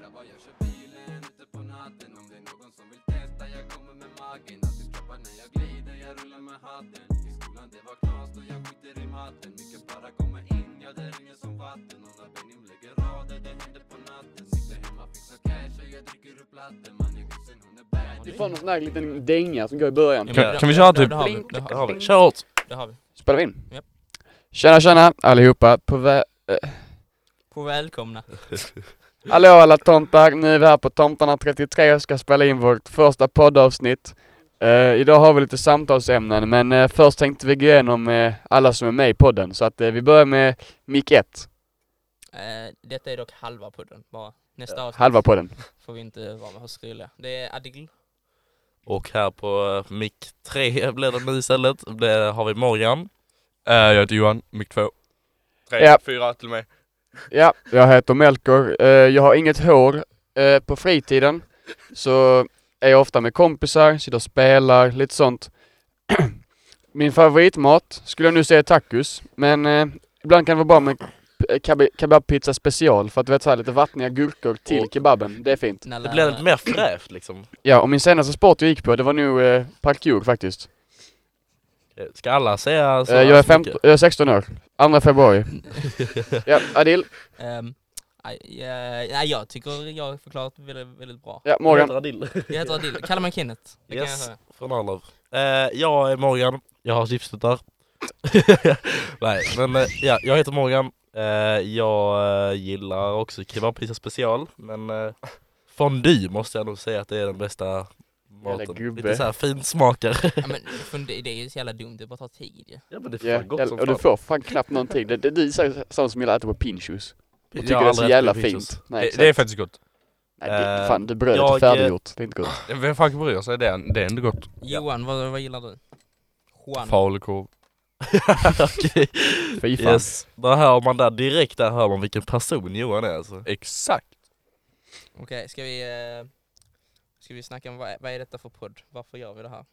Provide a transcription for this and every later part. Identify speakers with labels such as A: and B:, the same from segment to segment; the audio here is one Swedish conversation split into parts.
A: grabbar jag kör bilen ute på natten Om det är någon som vill testa, jag kommer med magen Alltid droppar när jag glider, jag rullar med hatten I skolan det var knas då jag skiter i matten Mycket bara komma in, ja det ringer som vatten Och när Benim lägger rader, det händer på natten Sitter hemma, fixar cash och jag dricker upp latten Man är husen, hon är bad
B: Det är fan någon sån här liten dänga som går i början.
C: Kan-
D: det-
C: kan vi köra
D: det-
C: typ-
D: Det har vi, det har vi.
C: Kör åt!
D: Det har vi.
B: Spelar vi in?
D: Japp.
B: Tjena tjena allihopa på vä-
D: På välkomna.
B: Hallå alla tomtar, nu är vi här på Tomtarna 33 och ska spela in vårt första poddavsnitt. Eh, idag har vi lite samtalsämnen men eh, först tänkte vi gå igenom eh, alla som är med i podden så att eh, vi börjar med mick 1,
D: Eh, detta är dock halva pudden bara. Nästa avsnitt
B: halva podden.
D: får vi inte vara hos Rulle. Det är Adil.
C: Och här på uh, mick 3 blir det nu istället, det har vi Morgan. Eh, jag heter Johan, mick 2.
E: Tre,
B: Ja.
E: fyra till mig.
B: Ja, jag heter Melker. Eh, jag har inget hår. Eh, på fritiden så är jag ofta med kompisar, sitter och spelar, lite sånt. Min favoritmat skulle jag nu säga tacos, men eh, ibland kan det vara bra med p- kebab- kebabpizza special för att du vet så här, lite vattniga gurkor till
C: Och-
B: kebaben. Det är fint.
D: När
C: Det
D: lärare-
C: blir lite mer fräscht liksom.
B: Ja, och min senaste sport jag gick på, det var nog eh, parkour faktiskt.
C: Ska alla säga så
B: Eh, jag, är 15, jag är 16 år, 2 februari. ja, Adil.
D: Ehm, aj, eh, nej, jag tycker jag har förklarat väldigt, väldigt bra.
B: Ja, Morgan.
D: Jag heter Adil. Kallar mig Kenneth. Det kan jag
C: Yes,
D: säga.
C: från Arlöv. Eh, jag är Morgan, jag har chipstuttar. Nej, men eh, ja, jag heter Morgan. Eh, jag eh, gillar också kebabpizza special, men eh, fondue måste jag nog säga att det är den bästa maten.
B: gubbe.
C: Lite såhär finsmakare.
D: Ja, men, fun- det det är ju så jävla dumt, det bara tar tid ju.
C: ja men det
B: Ja, och du får fan knappt någonting. Det, det, det är så- sånt som gillar att äta på pinchos. Och tycker det är så jävla fint. Nej,
E: Det, det är faktiskt gott.
B: Nej, det,
C: Eh,
B: fan, det brödet är
C: jag, eh,
B: färdiggjort. Det är inte gott.
E: Vem fan bryr sig? Det är, det är inte gott.
D: Johan, vad, vad gillar du? Juan.
E: Falukorv.
C: Okej,
B: Fy fan.
C: yes. Där hör man där direkt, där hör man vilken person Johan är alltså.
E: Exakt.
D: Okej, ska vi... eh, ska vi snacka om vad, är- vad är detta för podd? Varför gör vi det här?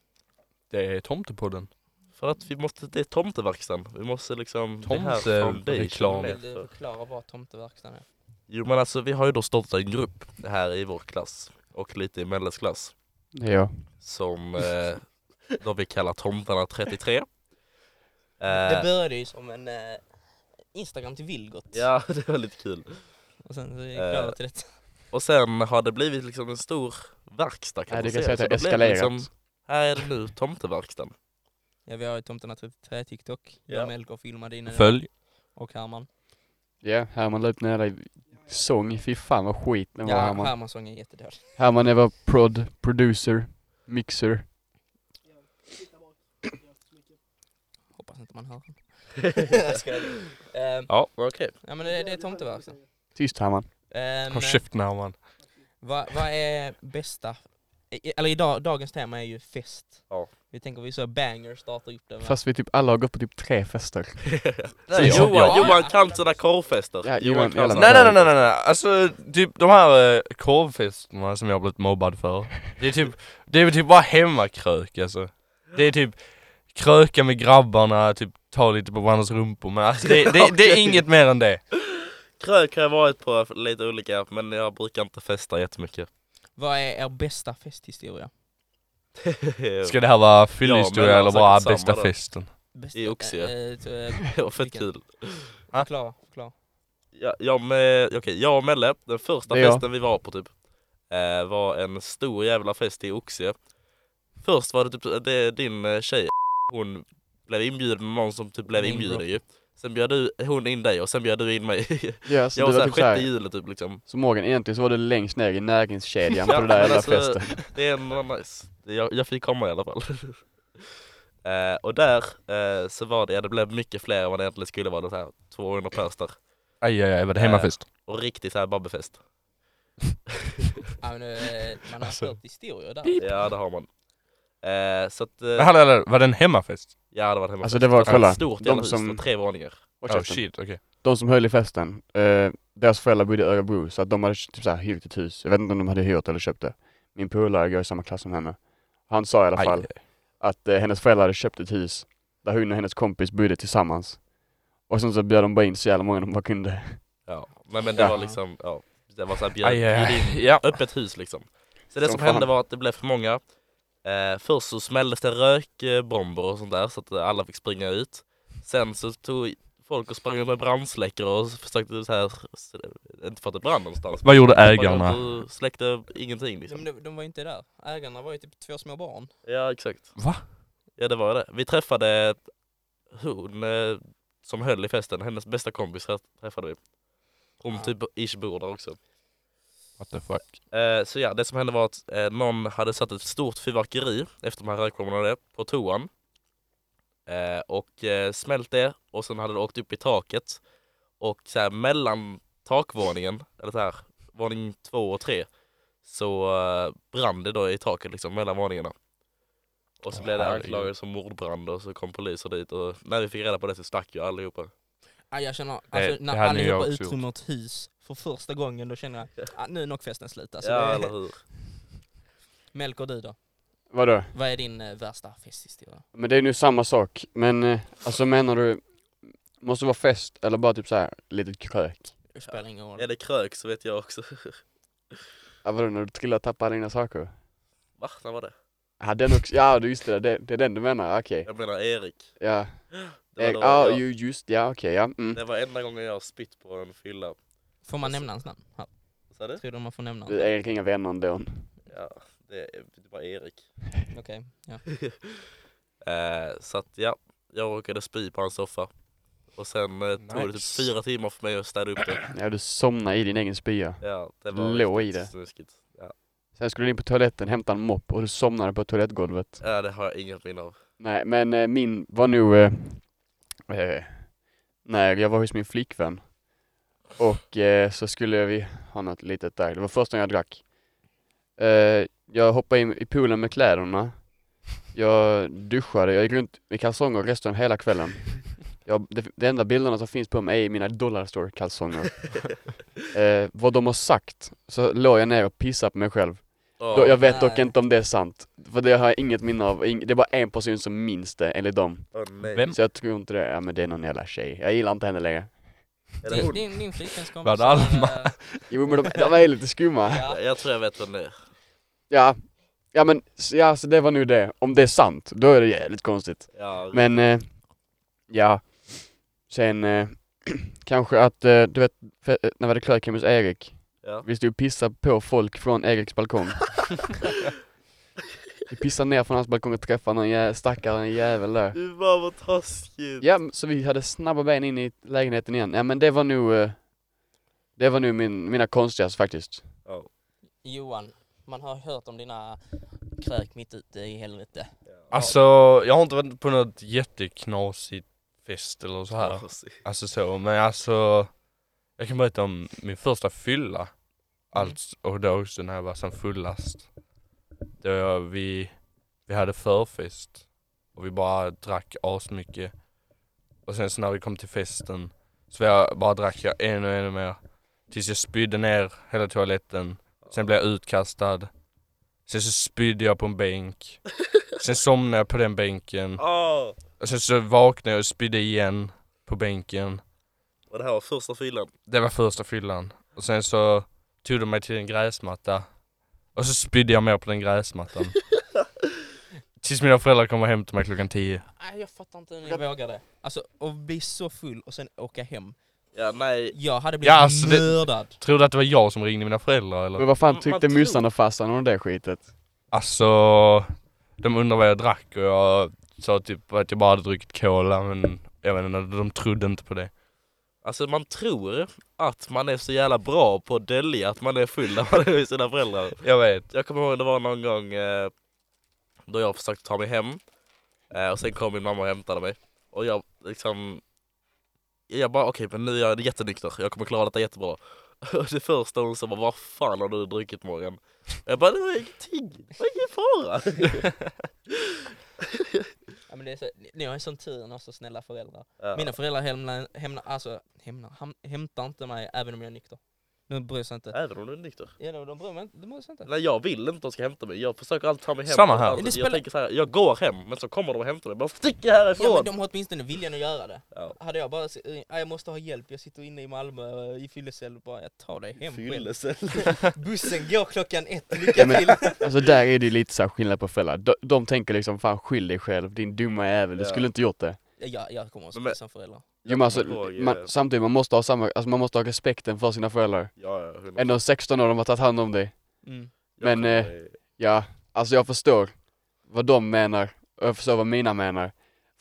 E: Det är tomtepodden.
C: För att vi måste, det är tomteverkstan. Vi måste liksom... det här
E: Tomtereklam.
C: foundation är
D: Vill du
C: för-
D: förklara vad tomteverkstan är?
C: Jo men alltså vi har ju då startat en grupp här i vår klass och lite i Melles klass
B: Ja.
C: som eh, då vi kallar Tomtarna Eh, 33. Eh,
D: Det började ju som en eh, Instagram till Vilgot.
C: ja det var lite kul.
D: Och sen så gick
C: Eh,
D: det över till det.
C: Och sen har det blivit liksom en stor verkstad kan
B: Nej,
C: man
B: du kan
C: säga.
B: säga att
C: Så
B: det har
C: då blev det liksom-
B: eskalerat.
C: här är det nu tomteverkstan.
D: Ja, vi har ju Tomtarna 33 TikTok.
C: Ja.
D: Ja. Melker filmade innan.
E: Följ.
D: Och Herman.
B: Ja, Herman la upp en jävla sång. Fy fan vad skit den var
D: Ja,
B: Herman.
D: Hermans sång är jättedålig.
B: Herman är var prod, producer, mixer.
D: Hoppas inte man hör honom. Jag skojar. Ehm,
C: Ja okej.
D: ja men det, det är tomteverkstan.
B: Tyst Herman.
D: Ehm,
E: Håll käften Herman.
D: vad, vad är bästa... i- Eller idag, dagens tema är ju fest.
C: Ja.
D: Vi tänker vi så banger startar upp det. med-
B: Fast vi typ alla har gått på typ tre fester.
C: Nej,
E: jag-
C: Johan,
D: jag-
C: Johan kan sina korvfester.
B: Ja, Johan-
C: kan
B: Johan-
C: sina-
E: Nej, nej, nej, nej, nej. Alltså typ de här eh, korvfesterna som jag har blivit mobbad för. Det är typ, det är typ bara hemmakrök alltså. Det är typ kröka med grabbarna, typ ta lite på varandras rumpor. Men alltså, det, det, det är
C: Okej.
E: inget mer än det.
C: Krök har jag varit på lite olika men jag brukar inte festa jättemycket.
D: Vad är er bästa festhistoria?
E: Ska det här vara
C: Ja,
E: fyllhistoria
C: men
E: eller
C: alltså,
E: bara
C: samma
E: bästa
C: då.
E: festen?
D: Bästa,
C: I Oxie.
D: eh, så, eh,
C: det var fett
D: Vilken?
C: kul.
D: Förklara, förklara.
C: Ja, jag, med, okej, jag och Melle, den första
B: Det är jag.
C: festen vi var på typ eh, Var en stor jävla fest i Oxie Först var det typ det, din eh, tjej Hon blev inbjuden med någon som typ blev
D: Min
C: inbjuden
D: bror.
C: ju Sen bjöd du, hon in dig och sen bjöd du in mig
B: Ja, så
C: Jag
B: det
C: var
B: var
C: såhär
B: typ
C: sjätte
B: såhär.
C: hjulet typ liksom
B: Så Morgan, egentligen så var du längst ner i näringskedjan på
C: Ja,
B: den där
C: men
B: jävla
C: alltså-
B: festen.
C: Det är ändå nice, jag, jag fick komma i alla fall eh, Och där eh, så var det, ja, det blev mycket fler än vad det egentligen skulle vara, det så här 200 pers där
E: Aj, aj, aj, var det
C: Eh,
E: hemmafest?
C: Och riktigt såhär babbefest
D: Ja, men, eh, man har
E: Alltså.
D: hört historier där.
C: Ja det har man eh, Så att, eh,
E: Hallå, hallå, var det en hemmafest?
C: Ja det var en hemma.
B: Alltså det var, kolla.
C: stort
B: de
C: jävla hus,
B: som-
C: det var tre våningar.
B: Håll
E: Oh
B: käften.
E: shit, okej.
B: de som höll i festen, eh, deras föräldrar bodde i Örebro så att de hade typ så här hyrt ett hus. Jag vet inte om de hade hyrt eller köpt det. Min polare går i samma klass som henne. Han sa i alla
E: Aj.
B: fall att eh, hennes föräldrar hade köpt ett hus där hon och hennes kompis bodde tillsammans. Och sen så bjöd de bara in så jävla många de bara kunde.
C: Ja. Men, men det
B: Ja.
C: var liksom, ja. det var så här bjöd,
E: Aj, aj,
C: bjöd in
E: aj. Ja.
C: öppet hus liksom. Så det
B: Som
C: som,
B: fan.
C: hände var att det blev för många. Eh, först så smälldes det rökbomber och sånt där så att eh, alla fick springa ut. Sen så tog folk och sprang med brandsläckare och försökte så här, s- inte för att det brann någonstans.
E: Vad gjorde
C: Man
E: ägarna?
C: kom och släckte ingenting liksom.
D: De, de, de var ju inte där. Ägarna var ju typ två små barn.
C: Ja exakt.
E: Va?
C: Ja det var det. Vi träffade hon eh, som höll i festen, hennes bästa kompis här träffade vi. Hon typ ish bor där också.
E: What the fuck?
C: Eh, så ja, det som hände var att eh, någon hade satt ett stort fyrverkeri efter de här rökbomberna och det, på toan. Eh, och eh, smält det och sen hade det åkt upp i taket. Och så här mellan takvåningen, eller så här, våning två och tre, så eh, brann det då i taket liksom mellan våningarna. Och så
E: Åh,
C: blev det
E: herregud.
C: anklagat som mordbrand och så kom poliser dit och när vi fick reda på det så stack ju allihopa.
D: Ah, jag känner,
E: Nej,
D: alltså,
E: det
D: när
E: hade ju jag
D: allihopa
E: också
D: utrymmer ett hus för första gången, då känner jag ah, nu är nog festen slut. Alltså,
C: ja,
D: det-
C: eller hur?
D: Melker, du då?
B: Vadå?
D: Vad är din eh, värsta festhistoria?
B: Men det är nu samma sak, men eh, alltså menar du, måste det vara fest eller bara typ så här litet krök?
D: Det spelar ingen roll.
C: Är det krök så vet jag också.
B: Ja, vadå när du trillar och tappar alla dina saker?
C: Va? När var det?
B: Ja den också, ja du- just det, det, det är den du menar, okej.
C: Jag menar Erik.
B: Ja,
C: Det var
B: Eh,
C: då
B: ja
C: jag-
B: ju just ja okej ja. Mm.
C: Det var enda gången jag har spytt på en fylla.
D: Får man nämna hans namn? Ja,
C: Vad sa du?
D: tror du man får nämna hans
B: Du
D: namn?
B: Erik har inga vänner ändå.
C: Ja, det, det var Erik.
D: Okej, ja.
C: Eh, så att ja, jag råkade spy på hans soffa. Och sen eh, tog det typ
E: Nice.
C: fyra timmar för mig att städa upp det.
B: Ja du somnar i din egen spya.
C: Ja, det var
B: Låg
C: riktigt
B: i det.
C: snuskigt. Ja.
B: Sen skulle du in på toaletten, hämta en mopp och du somnade på toalettgolvet.
C: ja, det har jag inget minne av.
B: Nej men eh, min var nog, eh, eh, när jag var hos min flickvän. Och eh, så skulle vi ha något litet där, det var första gången jag drack. Eh, jag hoppade in i poolen med kläderna. Jag duschade, jag gick runt i kalsonger resten av hela kvällen. Jag, det, de enda bilderna som finns på mig är mina dollarstore kalsonger. eh, vad de har sagt, så låg jag ner och pissade på mig själv.
C: Åh,
B: Då, jag vet dock
D: nej.
B: inte om det är sant. För det har jag inget minne av. Ing- Det är bara en person som minns det enligt dem.
C: åh, nej.
E: Vem?
B: Så jag tror inte det. Ja men det är någon jävla tjej. Jag gillar inte henne längre.
C: Är det
D: Din,
C: hon?
D: din, din flickväns kompis...
E: Vad hade
D: eh,
B: Jo men de, de är lite skumma.
D: ja.
C: Jag tror jag vet vem det är.
B: Ja. Ja men, s- ja så det var nu det. Om det är sant, då är det jävligt konstigt.
C: Ja,
B: Men, eh, ja. Sen, eh, kanske att, eh, du vet, fe- när vi hade klöken hos Erik.
C: ja.
B: Vi stod och pissade på folk från Eriks balkong. vi pissade ner från hans balkong och träffade någon jä- stackare jävel där.
C: Du var vad taskigt.
B: Ja, m- så vi hade snabba ben in i lägenheten igen. Ja men det var nog, eh, det var nog min, mina konstigaste faktiskt.
C: Ja.
D: Johan, man har hört om dina krök mitt ute i helvete.
E: Alltså, jag har inte varit på något jätteknasigt fest eller så här.
C: Taskigt.
E: Alltså så, men alltså Jag kan berätta om min första fylla Alltså, och då också när jag var som fullast Då jag- vi, vi hade förfest Och vi bara drack asmycket Och sen så när vi kom till festen Så jag bara drack jag ännu, ännu mer Tills jag spydde ner hela toaletten Sen blev jag utkastad Sen så spydde jag på en bänk Sen somnade jag på den bänken
C: Åh,
E: Och sen så vaknade jag och spydde igen på bänken
C: Och det här var första fyllan.
E: det var första fyllan. Och sen så tog de mig till en gräsmatta. Och så spydde jag mer på den gräsmattan. Tills mina föräldrar kom och hämtade mig klockan tio.
D: Nej, jag fattar inte hur ni vågade. Alltså, att bli så full och sen åka hem.
C: Ja, nej.
D: Jag hade blivit
E: Ja, alltså det-
D: mördad.
E: Tror du att det var jag som ringde mina föräldrar eller?
B: Men vad fan
C: Man
B: tyckte
C: tror-
B: myssan och farsan om det skitet?
E: Alltså, de undrade vad jag drack och jag sa typ att jag bara hade druckit cola men jag vet inte, de trodde inte på det.
C: Alltså man tror att man är så jävla bra på att dölja att man är full när man är hos sina föräldrar.
E: Jag vet.
C: Jag kommer ihåg det var någon gång eh, då jag försökte ta mig hem eh, och sen kom min mamma och hämtade mig. Och jag liksom, jag bara okej men nu är jag jättenykter, jag kommer klara detta jättebra. Och det första hon sa var vad fan har du druckit Morgan? Jag bara det var ingenting, det var ingen fara.
D: Ja, men det är så, ni- ni har ju sån tur, ni har så snälla föräldrar.
C: Ja.
D: Mina föräldrar hämnar, hämnar, alltså, hämnar, ham- hämtar inte mig även om jag är nykter. De bryr sig inte.
C: Även om du är nykter.
D: Ja, de, de, bryr, mig inte- de bryr sig inte.
C: Nej jag vill inte att de ska hämta mig, jag försöker alltid ta mig hem.
E: Samma här.
C: Alltså,
D: Det
C: Jag
D: spelar-
C: tänker så här, jag går hem men så kommer de och hämtar mig. Bara stick härifrån!
D: Ja, men de har åtminstone viljan att göra det.
C: Ja.
D: Hade jag bara, "Nej, jag måste ha hjälp, jag sitter inne i Malmö eh, i fyllecell, bara jag tar dig hem själv.
C: Fyllecell.
D: Bussen går klockan ett,
B: Ja,
D: lycka
B: men-
D: till!
B: Alltså där är det ju lite så här skillnad på föräldrar. De, de tänker liksom fan skyll dig själv, din dumma jävel, du
C: Ja.
B: skulle inte gjort det.
D: Jag, jag kommer också
C: Men-
D: bli som förälder.
B: Jo, men alltså,
C: kommer ihåg, eh,
B: man, samtidigt man måste ha samma, alltså man måste ha respekten för sina föräldrar.
C: Ja, ja, hundra.
B: Ändå 16 år, de har tagit hand om dig.
D: Mm.
C: Jag
B: men,
C: kommer
B: eh,
C: i-
B: Ja, alltså jag förstår vad de menar och jag förstår vad mina menar.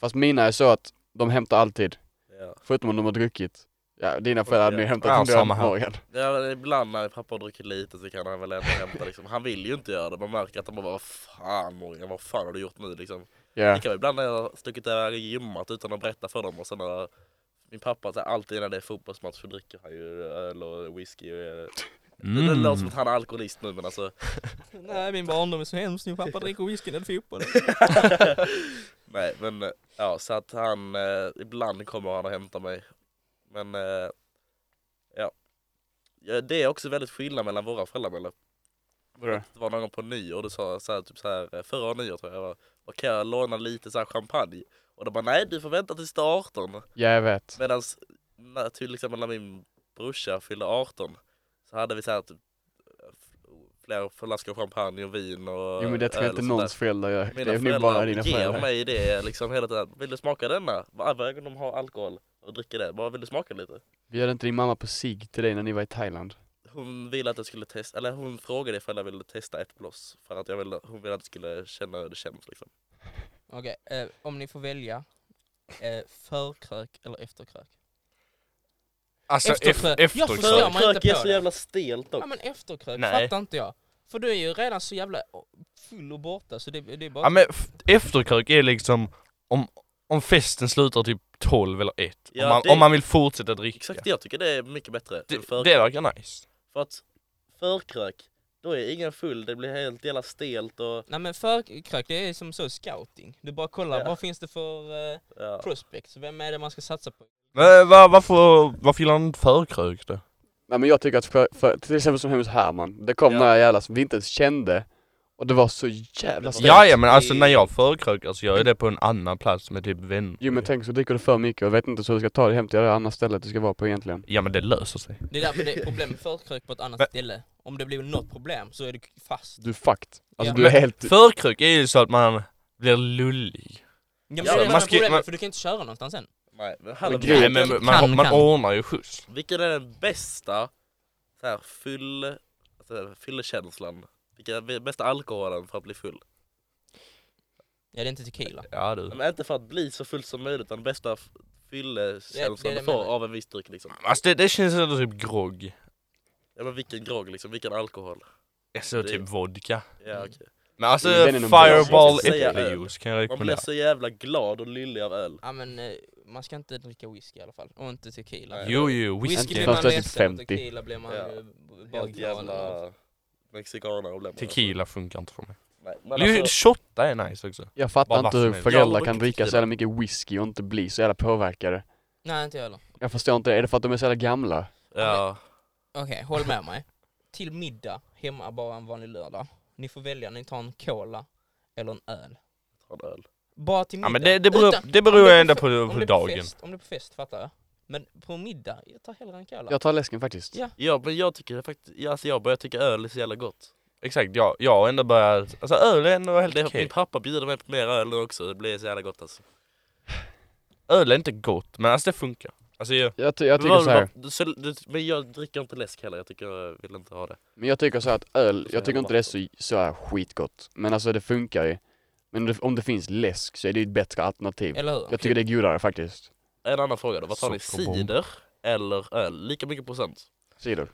B: Fast mina är så att de hämtar alltid,
C: ja.
B: förutom om de har druckit. Ja, dina föräldrar hade nu
E: Ja,
B: hämtat
E: samma här.
B: Morgan.
C: Ja, men ibland när pappa har druckit lite så kan han väl ändå hämta liksom. Han vill ju inte göra det, man märker att han bara vad fan Morgan, vad fan har du gjort nu liksom?
B: Ja,
C: Det kan vara ibland när jag har stuckit iväg och gymmat utan att berätta för dem och sen har min pappa så här, alltid när det är fotbollsmatch så dricker han ju öl och whisky och eh,
E: Mm.
C: Det låter som att han är alkoholist nu men alltså
D: Nej min barndom är så hemsk, min pappa dricker whisky när det är fotboll.
C: Nej men eh, ja så att han eh, ibland kommer han och hämtar mig Men eh, ja. ja Det är också väldigt skillnad mellan våra föräldrar Melle.
B: Vadå?
C: Det var någon gång på nyår och du sa så här, typ så här eh, förra nyår tror jag, jag bara, kan jag låna lite så här champagne? Och de bara nej du får vänta tills du är 18
B: ja jag vet.
C: Medan när, till exempel när min brorsa fyllde 18 så hade vi så här typ flera flaskor champagne och vin och
B: Jo men det tror
C: öl
B: jag inte
C: och sånt där.
B: någons föräldrar gör.
C: Mina
B: det är nog
C: föräldrar
B: bara dina
C: ger
B: föräldrar.
C: mig det liksom hela tiden. Vill du smaka denna? Varje gång de har alkohol och dricker det, bara vill du smaka lite?
B: Bjöd inte din mamma på cigg till dig när ni var i Thailand?
C: Hon ville att jag skulle testa, eller hon frågade ifall jag ville testa ett bloss för att jag ville, hon ville att jag skulle känna hur det känns liksom.
D: Okej, eh, om ni får välja, eh, förkrök eller efterkrök?
E: Alltså
D: Efterfrö-
E: efter,
D: Jag
E: efter
D: förstår. man inte
C: Krök är
D: på
C: så
D: det?
C: jävla stelt dock.
D: Ja men efterkrök
E: Nej.
D: fattar inte jag. För du är ju redan så jävla oh, full och borta så det, det är bara...
E: Ja men f- efterkrök är liksom om, om festen slutar typ 12 eller 1.
C: Ja,
E: om, man,
C: det-
E: om man vill fortsätta dricka.
C: Exakt, jag tycker det är mycket bättre än
E: Det,
C: förkrök.
E: det verkar nice.
C: För att förkrök, då är ingen full, det blir helt jävla stelt och
D: Nej men förkrök det är som så scouting. Du bara kollar
C: Ja.
D: vad finns det för eh,
C: ja.
D: prospects, vem är det man ska satsa på?
E: Men va, varför, varför gillar han inte förkrök då?
B: Nej men jag tycker att för, för, till exempel som hemma hos Herman, det kom
C: Ja.
B: några jävlar som vi inte ens kände. Och det var så jävla stelt.
E: Ja, ja men alltså när jag förkrökar så gör jag det på en annan plats med typ vänner.
B: Jo men tänk så dricker du för mycket och vet inte så du ska ta dig hem till det andra stället du ska vara på egentligen.
E: Ja men det löser sig.
D: Det är därför det är problem med förkrök på ett annat
E: Men-
D: ställe. Om det blir något problem så är det fast.
B: Du är fucked.
D: Ja.
B: Alltså du är
E: Men-
B: helt...
E: Förkrök är ju så att man blir lullig.
D: Ja, men
C: Ja,
D: det är
E: man
D: man
E: ska-
D: problemet
E: man-
D: för du kan inte köra någonstans sen.
C: nej, men
B: Men
C: hallå,
B: grejen-
E: Nej, men man,
D: Kan,
E: man
D: kan.
E: ordnar ju skjuts.
C: Vilken är den bästa så här, fyll, så här, fyllekänslan? Vilken är den bästa alkoholen för att bli full?
D: Ja det är inte tequila.
E: Ja du.
C: Men inte för att bli så full som möjligt utan den bästa f-
D: Ja, det
C: fyllekänslan
D: är det
C: du
D: jag
C: får
D: menar.
C: av en viss dryck liksom.
E: Alltså det, det känns ändå typ grogg.
C: Ja men vilken grogg liksom, vilken alkohol.
E: Alltså
C: Det-
E: typ vodka.
D: Mm.
C: Ja, okej.
E: Men alltså
B: Den är nog
E: fireball
C: bra.
E: äppeljuice kan jag
C: Man blir
E: rekommendera.
C: så jävla glad och lyllig av öl.
D: Ja men eh, man ska inte dricka whisky i alla fall. Och inte tequila.
C: Nej.
E: Jo jo,
D: Whisky
E: whisky.
D: blir man
B: Fast det är typ
D: ledsen,
B: 50.
D: tequila blir man
C: Ja.
D: ja. bara
C: Helt
D: glad av.
C: jävla mexikaner blir man.
E: Tequila funkar inte för mig.
C: alltså. Nej, men
E: Alltså,
C: alltså,
E: Shotta är nice också.
B: Jag
E: Bara
B: fattar inte
E: vatten
B: hur
E: är det.
C: Jag har
B: föräldrar
C: druckit
B: kan dricka så
C: tequila.
B: jävla mycket whisky och inte bli så jävla påverkade.
D: Nej inte jag heller.
B: Jag förstår inte det. Är det för att de är så jävla gamla?
E: Ja.
D: Okej, håll med mig. Till middag hemma bara en vanlig lördag. Ni får välja, ni tar en cola eller en öl.
C: ta en öl.
D: Bara till middag.
E: Ja men det, det beror,
D: Utan-
E: det
D: om
E: beror
D: det
E: ju
D: är
E: ändå
D: fe-
E: på,
D: om
E: på
D: det är
E: dagen.
D: Fest, om det är på fest fattar jag. Men på middag, jag tar hellre en cola.
B: Jag tar läsken faktiskt.
D: Ja.
C: Ja men jag tycker faktiskt, alltså jag börjar tycka öl är så jävla gott.
E: Exakt, jag, jag har ändå börjat, alltså öl är ändå helt
C: Det,
E: okej.
C: Min pappa bjuder mig på mer öl nu också, det blir så jävla gott alltså.
E: Öl är inte gott, men alltså det funkar. Alltså jag,
B: Jag, ty- jag tycker
C: Var-
B: så här.
C: var- så- du- men jag dricker inte läsk heller, jag tycker jag vill inte ha det.
B: Men jag tycker så här att öl,
C: Så
B: jag tycker
C: jävla
B: inte det är så, så här skitgott. Men alltså det funkar ju. Men det, om det finns läsk så är det ju ett bättre alternativ.
D: Eller hur?
B: Jag tycker det är godare faktiskt.
C: En annan fråga då, vad tar ni?
E: Sockerbomb.
C: Cider eller öl? Lika mycket procent?
B: Cider.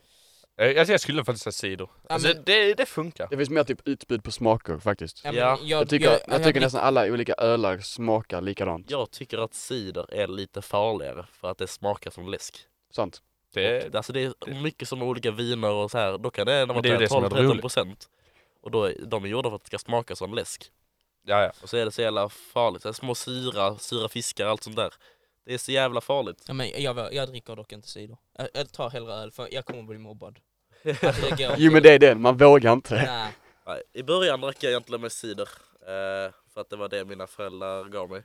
E: eh, alltså jag skulle faktiskt säga cider.
D: Ja,
E: Alltså
D: men-
E: det, det funkar.
B: Det finns mer typ utbud på smaker faktiskt.
D: Ja, men
C: Ja,
B: Jag tycker, jag, tycker nästan alla olika ölar smakar likadant.
C: Jag tycker att cider är lite farligare för att det smakar som läsk.
B: Sant.
E: Det,
C: Och, alltså det är mycket som olika viner och så här. då kan det när man
E: det är ju det som är
C: tar
E: roligt.
C: 12-13% och då är, de är gjorda för att det ska smaka som läsk.
E: ja, ja.
C: Och så är det så jävla farligt, så här, små syra, syra fiskar allt sånt där. Det är så jävla farligt.
D: Ja, men jag, jag, jag dricker dock inte cider. Jag, jag tar hellre öl för jag kommer bli mobbad. Att det går
B: Jo men det är den, man vågar inte.
D: Nej.
C: Nej, I början drack jag egentligen med cider, eh, för att det var det mina föräldrar gav mig.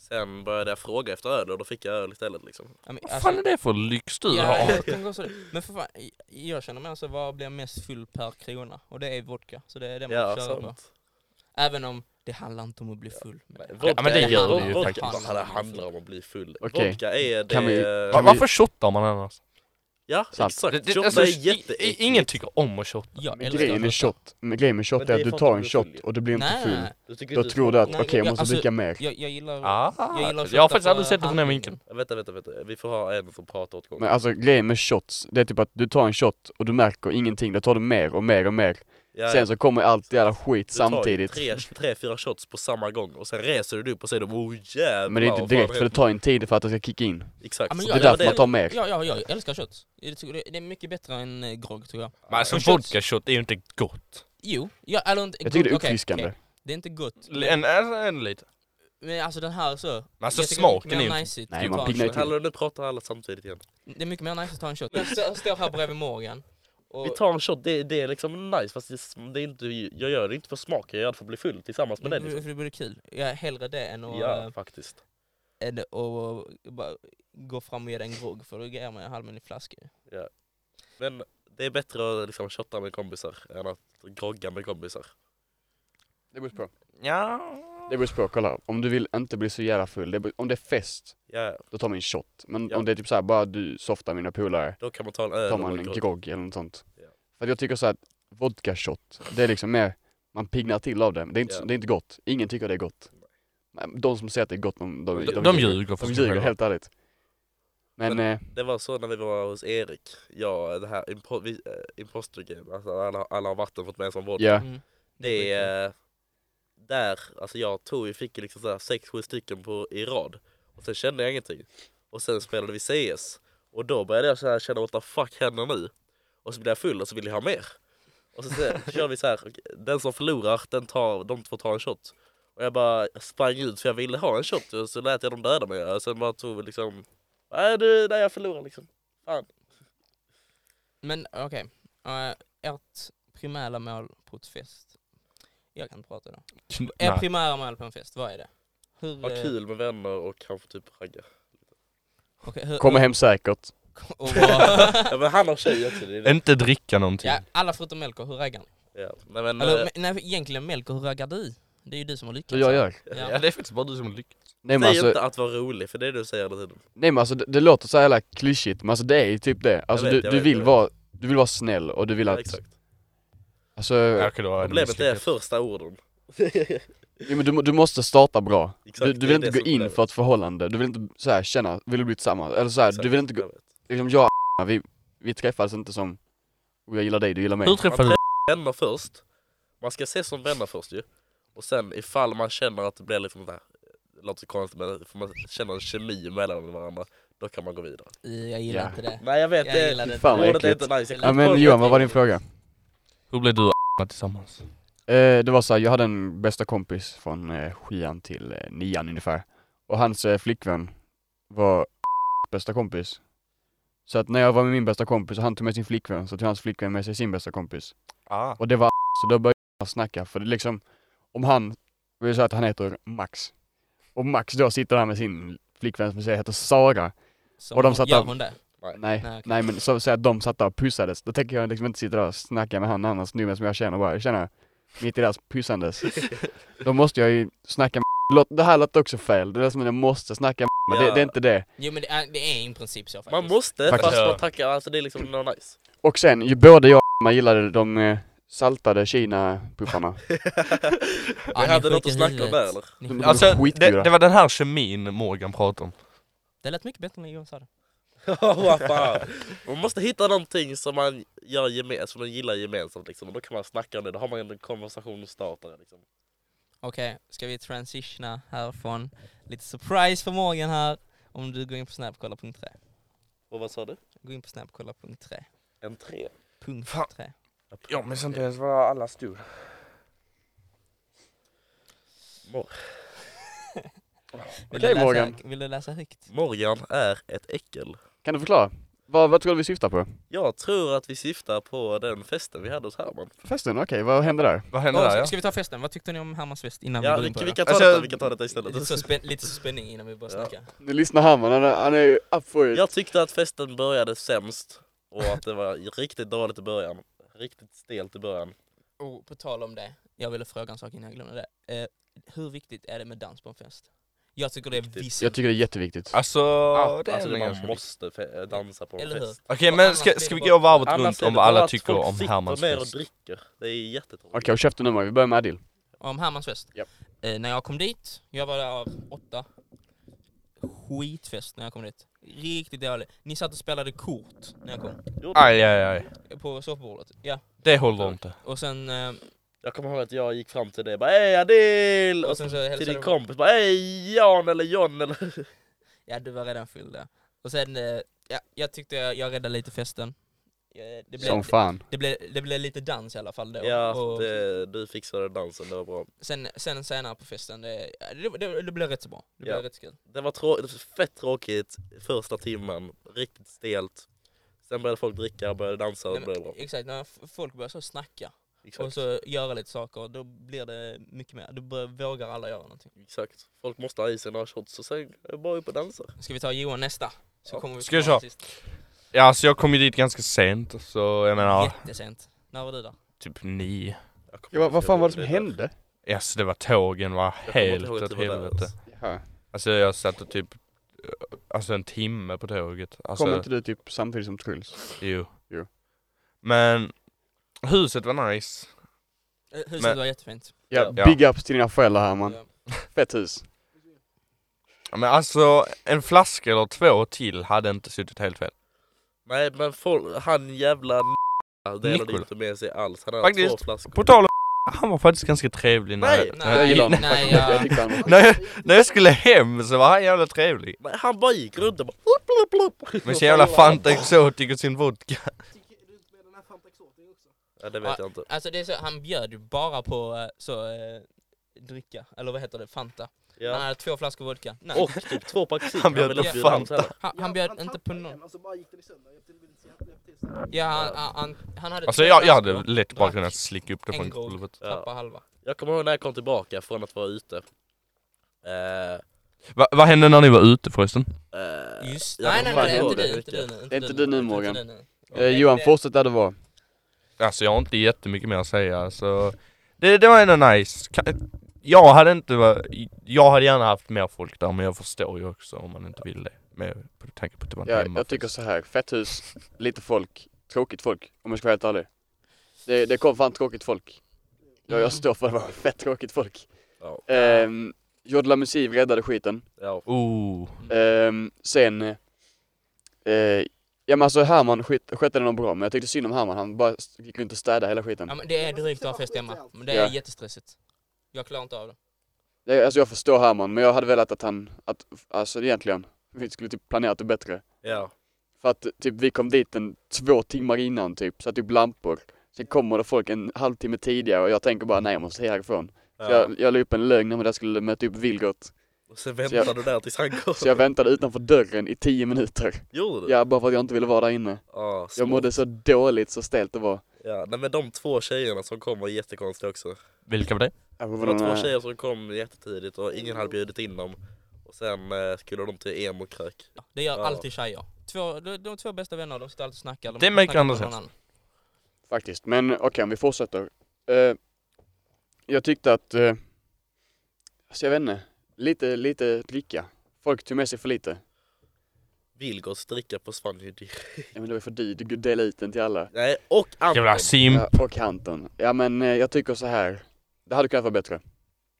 C: Sen började jag fråga efter öl och då fick jag öl istället liksom.
D: Ja, men
E: Vad
D: alltså-
E: fan är det för lyx du
D: Ja,
E: har?
D: jag tänker också det. Men för fan, jag känner mig alltså, vad blir mest full per krona? Och det är vodka, så det är det man
C: Ja,
D: kör på.
C: sant.
D: Även om det handlar inte om att bli full.
C: Vodka,
E: men det gör
D: det ju
C: vodka,
D: faktiskt.
C: Vodka handlar om att bli full.
B: Okej.
C: Vodka är det...
B: Kan vi-
E: Va- Varför shottar man annars?
C: Ja,
B: Sant.
C: exakt.
E: Det- det-
C: Shotta
E: alltså,
C: är
E: i- i-
C: jätteäckligt.
E: Ingen tycker om att shotta.
D: Jag
B: Men
D: älskar
B: Grejen med
D: vodka.
B: shot, men grejen med shot
C: Men
B: är
C: det
B: att
C: är
B: du
C: för att
B: tar
C: du
B: en
C: blir
B: shot
C: full ju.
B: och du blir inte
D: Nej, nej,
B: full.
D: nej.
C: Du tycker
B: Då
C: inte
B: tror du att
D: Nej,
B: okej, jag måste
D: alltså,
B: dricka mer.
D: Jag, jag gillar...
E: Ah,
D: jag gillar att
E: jag har
D: shotta
E: faktiskt
D: för
E: aldrig sett det från den
D: handling.
E: vinkeln.
C: Vänta, vänta, vänta. Vi får ha en som pratar åt gången.
B: Men alltså grejen med shots, det är typ att du tar en shot och du märker ingenting, då tar du mer och mer och mer.
C: Ja, ja.
B: Sen så kommer allt jävla skit
C: Du tar ju
B: samtidigt.
C: Tre, tre, fyra shots på samma gång och sen reser du dig upp och säger de, oh jävlar.
B: Men det är inte
C: vad
B: direkt,
C: fan
B: för det tar en tid för att det ska kicka in.
C: Exakt.
D: Ja, men
C: Så
B: Det
D: jag-
B: är
D: jag-
B: därför man tar mer.
D: Ja, ja, jag älskar kött. Jag tycker Det det är mycket bättre än eh, grogg tror jag.
E: Men alltså
D: Och shots.
E: vodka-shot är ju inte gott.
D: Jo, jag, eller inte...
B: Jag tycker det är
D: okej, okej.
B: uppfriskande.
D: Det är inte gott.
E: En, en, en, lite.
D: Men alltså den här så...
E: Men alltså
D: jag tycker
E: smaken
D: det
E: är
D: är
E: ju...
D: mycket mer nice
B: Nej, man piggnar
C: Men
B: ju till.
C: hallå, nu pratar alla samtidigt igen.
D: Det är mycket mer nice att ta en shot. Jag stå- står här bredvid Morgan. Och
C: Vi tar en shot, det, det är liksom nice fast det, är- det är inte, jag gör det inte för smaken, jag gör det för att bli full tillsammans med dig liksom.
D: För det blir kul. Jag hellre det än att,
C: Ja, faktiskt.
D: eh, än att eh, bara gå fram och ge dig en grogg för då ger man ju halmen i flaska.
C: Men det är bättre att liksom shotta med kompisar än att grogga med kompisar.
B: Det beror på.
E: Ja.
B: Det beror på, kolla. Om du vill inte bli så jävla full, det beror, om det är fest,
C: Ja,
B: då tar man en shot. Men
C: Ja.
B: om det är typ såhär, bara du softar mina polare,
C: då kan man ta en öl
B: tar
C: och
B: man
C: en
B: en
C: grogg.
B: grogg eller något sånt.
C: Ja.
B: För att jag tycker så att vodka shot, det är liksom mer, man piggnar till av det. Det är inte,
C: Ja.
B: det är inte gott. Ingen tycker det är gott. Men de som säger att det är gott, de, de,
E: De, de ljuger för
B: De
E: sig
B: ljuger,
E: själva.
B: helt ärligt. Men, eh,
C: Det var så när vi var hos Erik, ja det här impo- vi- eh, imposter game, alltså alla, alla har vatten fått med en sån vodka.
B: ja.
D: Mm.
C: Det är... eh, Där, alltså jag tog ju, fick ju liksom såhär sex, sju stycken på, i rad. Och sen kände jag ingenting. Och sen spelade vi CS. Och då började jag så här känna what the fuck händer nu? Och så blev jag full och så ville jag ha mer. Och så, så, så kör vi så här, okej, den som förlorar, den tar, de två tar en shot. Och jag bara sprang ut för jag ville ha en shot och så lät jag dem döda mig. Och sen bara tog vi liksom, nej du, nej jag förlorar liksom.
D: Men okej, okay. ert primära mål på ett fest. Jag kan inte prata då. Ert
E: Nej.
D: primära mål på en fest, vad är det? Hur,
C: Ha
D: eh,
C: kul med vänner och kanske typ ragga.
D: okej, hur,
B: kommer hem säkert.
D: och vad-
C: Ja men han har tjej också. Det är det.
E: Inte dricka någonting.
D: ja, alla förutom Melker, hur raggar ni?
C: Ja, nej, men,
D: Eller,
C: eh,
D: me- nej, egentligen Melker, hur raggar du? Det är ju du som har lyckats.
B: Så jag gör.
D: Ja.
E: Ja, det är faktiskt bara du som har lyckats.
B: Nej men
C: Säg
B: alltså,
C: inte att vara rolig, för det är det du säger hela tiden.
B: nej, men alltså det, det låter så jävla klyschigt, men alltså det är ju typ det. Alltså
C: vet,
B: du,
C: jag
B: du
C: vet,
B: vill
C: jag vet.
B: vara, du vill vara snäll och du vill
C: Ja,
B: att,
C: exakt.
B: alltså,
E: Ja, okej, då har jag
C: Problemet är
E: misslyckats.
C: första orden.
B: jo, men du, du måste starta bra.
C: Exakt,
B: Du,
C: det
B: du
C: är
B: vill
C: det
B: inte gå
C: som
B: in
C: kräver.
B: för ett förhållande, du vill inte så här känna, vill du bli tillsammans? Eller så här,
C: Exakt,
B: du vill inte gå,
C: jag vet.
B: liksom jag och vi, vi träffades inte som, och jag gillar dig, du gillar mig.
E: Hur
C: Man
E: träffade du
C: Vänner först. Man ska ses som vänner först ju. Och sen ifall man känner att det blir liksom där, det låter konstigt men ifall man känner en kemi mellan varandra, då kan man gå vidare.
D: Jag gillar
B: Ja.
D: inte det.
C: Nej jag vet,
D: Jag
C: det,
D: gillar det.
B: Fan, vad
C: ordet är
B: äckligt.
C: inte nice.
B: Ja men Johan, vad var din fråga?
E: Hur blev du och tillsammans?
B: Eh, det var så här, jag hade en bästa kompis från eh, sjuan till eh, nian ungefär. Och hans eh, flickvän var bästa kompis. Så att när jag var med min bästa kompis och han tog med sin flickvän så tog hans flickvän med sig sin bästa kompis.
E: Ah.
B: Och det var så då började jag snacka för det är liksom, om han, vi säger att han heter Max. Och Max då sitter där med sin flickvän som säger heter Sara.
D: Så,
B: Och de satt
D: gör
B: av-
D: hon det?
B: Nej,
D: Nej, okej.
B: nej, men så säger att de satt där och pussades. Då tänker jag liksom inte sitta där och snacka med han annan snubben som jag känner bara, jag känner mitt i deras pussandes. Då måste jag ju snacka med Låt- Det här låter också fel, det är som att jag måste snacka med men det,
C: Ja.
B: det är inte det.
D: Jo men det är, det är i princip så faktiskt.
C: Man måste
B: Faktiskt.
C: fast
E: Ja.
C: man tackar, alltså det är liksom något nice.
B: Och sen, ju både jag och man gillade de eh, saltade Kina-puffarna.
C: Vi
D: Ja, ni
C: hade något
D: sjuka
C: att snacka om
D: huvudet.
C: där eller?
D: Ni
B: De-
D: sjuka-
E: Alltså,
B: skitdyra.
E: det, det var den här kemin Morgan pratade om.
D: Det lät mycket bättre än Johan sa det.
C: Vad fan. man måste hitta någonting som man, gör gemen- som man gillar gemensamt liksom. och då kan man snacka om det, då har man en konversationsstartare liksom.
D: Okej, ska vi transitiona härifrån? Lite surprise för Morgan här. Om du går in på snapkolla.3.
C: Och vad sa du?
D: Gå in på snapkolla.3.
C: En tre?
D: Punkt
E: Fan.
D: 3.
E: Jag minns inte ens var alla stod.
D: Vill,
B: Okej,
D: du läsa-
B: Morgan.
D: vill du läsa högt?
C: Morgan är ett äckel.
B: Kan du förklara? Vad, vad tror du vi syftar på?
C: Jag tror att vi syftar på den festen vi hade hos Herman.
B: Festen? Okej, vad hände där?
E: Vad hände där
D: ska,
E: ja?
D: ska vi ta festen? Vad tyckte ni om Hermans fest innan
C: Ja,
D: vi går
C: vi,
D: in på
C: vi,
D: det?
C: kan ta
E: Alltså,
C: detta, vi kan ta detta
D: Lite,
C: istället.
D: suspen- lite spänning innan vi börjar
C: Ja.
D: snacka.
B: Nu lyssnar Herman, han är, han är ju up for it.
C: Jag tyckte att festen började sämst och att det var riktigt dåligt i början. Riktigt stelt i början.
D: Och Oh, på tal om det, jag ville fråga en sak innan jag glömde det. Eh, hur viktigt är det med dans på en fest? Jag tycker det är
C: Viktigt.
D: visst.
B: Jag tycker det är jätteviktigt.
E: Alltså, det
C: alltså
E: är
C: man
E: ganska viktigt.
C: måste fe- dansa på en
D: Eller hur?
C: fest.
E: Okej
D: Och
E: men
D: annars
E: ska,
D: är det
E: ska vi
D: bara-
E: gå varvet
C: Annars
E: runt
C: är det
E: om
C: bara
E: vad alla
C: att
E: tycker
C: folk
E: om
C: sitter
E: Hermans
C: ner och
E: fest?
C: dricker. Det är jättetråkigt.
B: Okej, och käften nu Maja. vi börjar med Adil.
D: Om Hermans fest.
B: Japp.
D: Eh, när jag kom dit, jag var där av åtta. Skitfest när jag kom dit. Riktigt dålig. Ni satt och spelade kort när jag kom.
C: Gjorde
E: Aj, aj, aj.
D: På soffbordet. Ja.
E: Det håller inte.
D: Och sen... Eh,
C: Jag kommer ihåg att jag gick fram till dig och bara Hej Adil! Och
D: och sen så hälsade
C: till din
D: jag-
C: kompis bara Hej Jan eller John eller...
D: Ja, du var redan full där. Och sen... Eh, ja, jag tyckte jag, jag räddade lite festen. Eh, Det blev,
B: Som
D: det,
B: fan.
D: blev, det blev lite dans i alla fall då.
C: Ja,
D: och
C: det, du fixade dansen, det var bra.
D: sen, sen senare på festen, det, det, det, det blev rätt så bra. Det
C: Ja.
D: blev rätt så kul.
C: Det var trå- fett tråkigt första timmen, riktigt stelt. Sen började folk dricka och började dansa och
D: Nej,
C: det
D: men,
C: blev bra.
D: exakt, när f- folk börjar så snacka och
C: Exakt.
D: så göra lite saker, då blir det mycket mer. Då bör, vågar alla göra någonting.
C: Exakt. Folk måste ha i sig några shots och sen är det bara upp och dansa.
D: Ska vi ta Johan nästa? Så
E: Ja.
D: kommer vi
E: Ska vi
D: till honom
E: köra?
D: sist.
E: Ja alltså jag kom ju dit ganska sent, så jag menar
D: Jättesent. När var du där?
E: typ nio.
C: Jag
B: Ja,
C: kommer
B: vad,
C: inte
B: vad fan
C: ihåg
B: var det som
C: där.
B: hände?
E: Yes, det var tågen var
C: Jag kommer inte
E: helt
C: ihåg att
E: åt
C: det var där
E: helvete.
C: ens.
B: Ja.
E: Alltså jag satt och typ, eh, alltså en timme på tåget. Alltså,
B: Kom inte du typ samtidigt som Truls?
E: Jo.
B: Jo.
E: Men huset var nice.
D: Eh, Huset
E: Men-
D: var jättefint.
B: Ja,
E: Ja.
B: big ups till dina föräldrar Herman.
D: Ja.
B: Fett hus.
E: Ja, Men alltså en flaska eller två till hade inte suttit helt fel.
C: Nej men folk, han jävla delade
E: Nikola.
C: inte med sig alls. Han hade
E: Faktiskt.
C: två flaskor.
E: På tal om han var faktiskt ganska trevlig när,
C: Nej,
D: nej,
B: jag gillar honom
D: nej,
B: faktiskt.
D: jag-
B: Jag tyckte han var-
E: när, jag, när jag skulle hem så var han jävla trevlig.
C: Men han bara gick runt och bara
B: Mm.
C: plup, plup, plup.
E: Med sin jävla Fanta Exotic och sin vodka.
C: Ja, det vet
D: Ja.
C: jag inte.
D: Alltså det är så, han bjöd ju bara på eh, så, eh, dricka, eller vad heter det, Fanta. Han
C: Ja.
D: hade två flaskor vodka. Nej,
C: Och typ två pack cigg.
E: Han bjöd
C: ville
E: på
C: bjuda
E: Fanta.
C: allt heller.
D: han, han bjöd inte på någon.
F: Och så Alltså, bara gick den i sönder. Jag ville inte se att jag till så.
D: Ja, han, han, han, han hade
E: Alltså
D: två
E: jag, jag hade
D: flaskor,
E: lätt bara
D: drack
E: kunnat slicka upp det
D: en
E: från
D: grogg.
E: golvet.
C: Ja.
D: Tappa halva.
C: Jag kommer ihåg när jag kom tillbaka från att vara ute. Eh,
E: Va, vad hände när ni var ute förresten?
C: eh,
D: Just
C: jag
D: Nej nej nej,
B: fan
C: kommer
D: nej
C: ihåg
D: inte
C: det
D: du, inte du
C: mycket.
D: nu.
B: Det är inte du nu,
D: inte
B: Morgan.
D: du nu.
B: Eh, Johan, fortsätt där du var.
E: Alltså jag har inte jättemycket mer att säga så det, det var ändå nice. Ka- Jag hade inte va- jag hade gärna haft mer folk där men jag förstår ju också om man inte vill det. Med på tanke på att det var en
B: Ja, jag
E: hemmafest.
B: tycker så här. Fett hus, lite folk, tråkigt folk. Om jag ska vara helt ärlig. Det, det kom fan tråkigt folk. Ja, jag står för att det var fett tråkigt folk.
C: Ja.
B: Ehm, Jodla Musiv räddade skiten.
C: Ja.
E: Oh.
B: Ehm, sen... Eh, ja men alltså Herman skit, skötte det nog bra, men jag tyckte synd om Herman. Han bara st- gick runt och städade hela skiten.
D: Ja men det är drygt att ha fest hemma. Men det
B: Ja.
D: är jättestressigt. Jag klarar inte av det.
B: Det, alltså jag förstår Herman, men jag hade velat att han... Att, alltså egentligen, vi skulle typ planerat det bättre.
C: Ja.
B: För att typ vi kom dit en två timmar innan typ, satte upp lampor. Sen kommer det folk en halvtimme tidigare och jag tänker bara nej jag måste härifrån. Så
C: ja.
B: jag, jag la upp en lögn om att jag skulle möta upp Vilgot.
C: Och
B: Så
C: sen väntade
B: jag-
C: du där tills han kom.
B: Så jag väntade utanför dörren i tio minuter.
C: Gjorde du?
B: Ja, bara för att jag inte ville vara där inne.
C: Ja, smart.
B: Jag mådde så dåligt så stelt det var.
C: Ja, nej men de två tjejerna som kom var jättekonstiga också.
E: Vilka var det?
B: Jag
C: Det var två tjejer som kom jättetidigt och ingen hade bjudit in dem. Och sen eh, skulle de till emo-krök.
D: Ja, Det gör
C: Ja.
D: alltid tjejer. Två, de, de två bästa vänner, de sitter alltid och snackar. De
E: Det
D: snackar
E: märker
D: med
E: andra
D: någon
E: sätt.
D: annan.
B: Faktiskt, men okej om vi fortsätter. Eh, jag tyckte att, uh, alltså jag vet inte, lite, lite dricka. Folk tog med sig för lite.
C: Vilgots dricka försvann ju direkt.
B: Ja men det var för dyrt, du dela ut den till alla.
C: Nej, och Anton.
E: Jävla simp.
B: Ja, och Anton. Ja men eh, jag tycker så här. det hade kunnat vara bättre.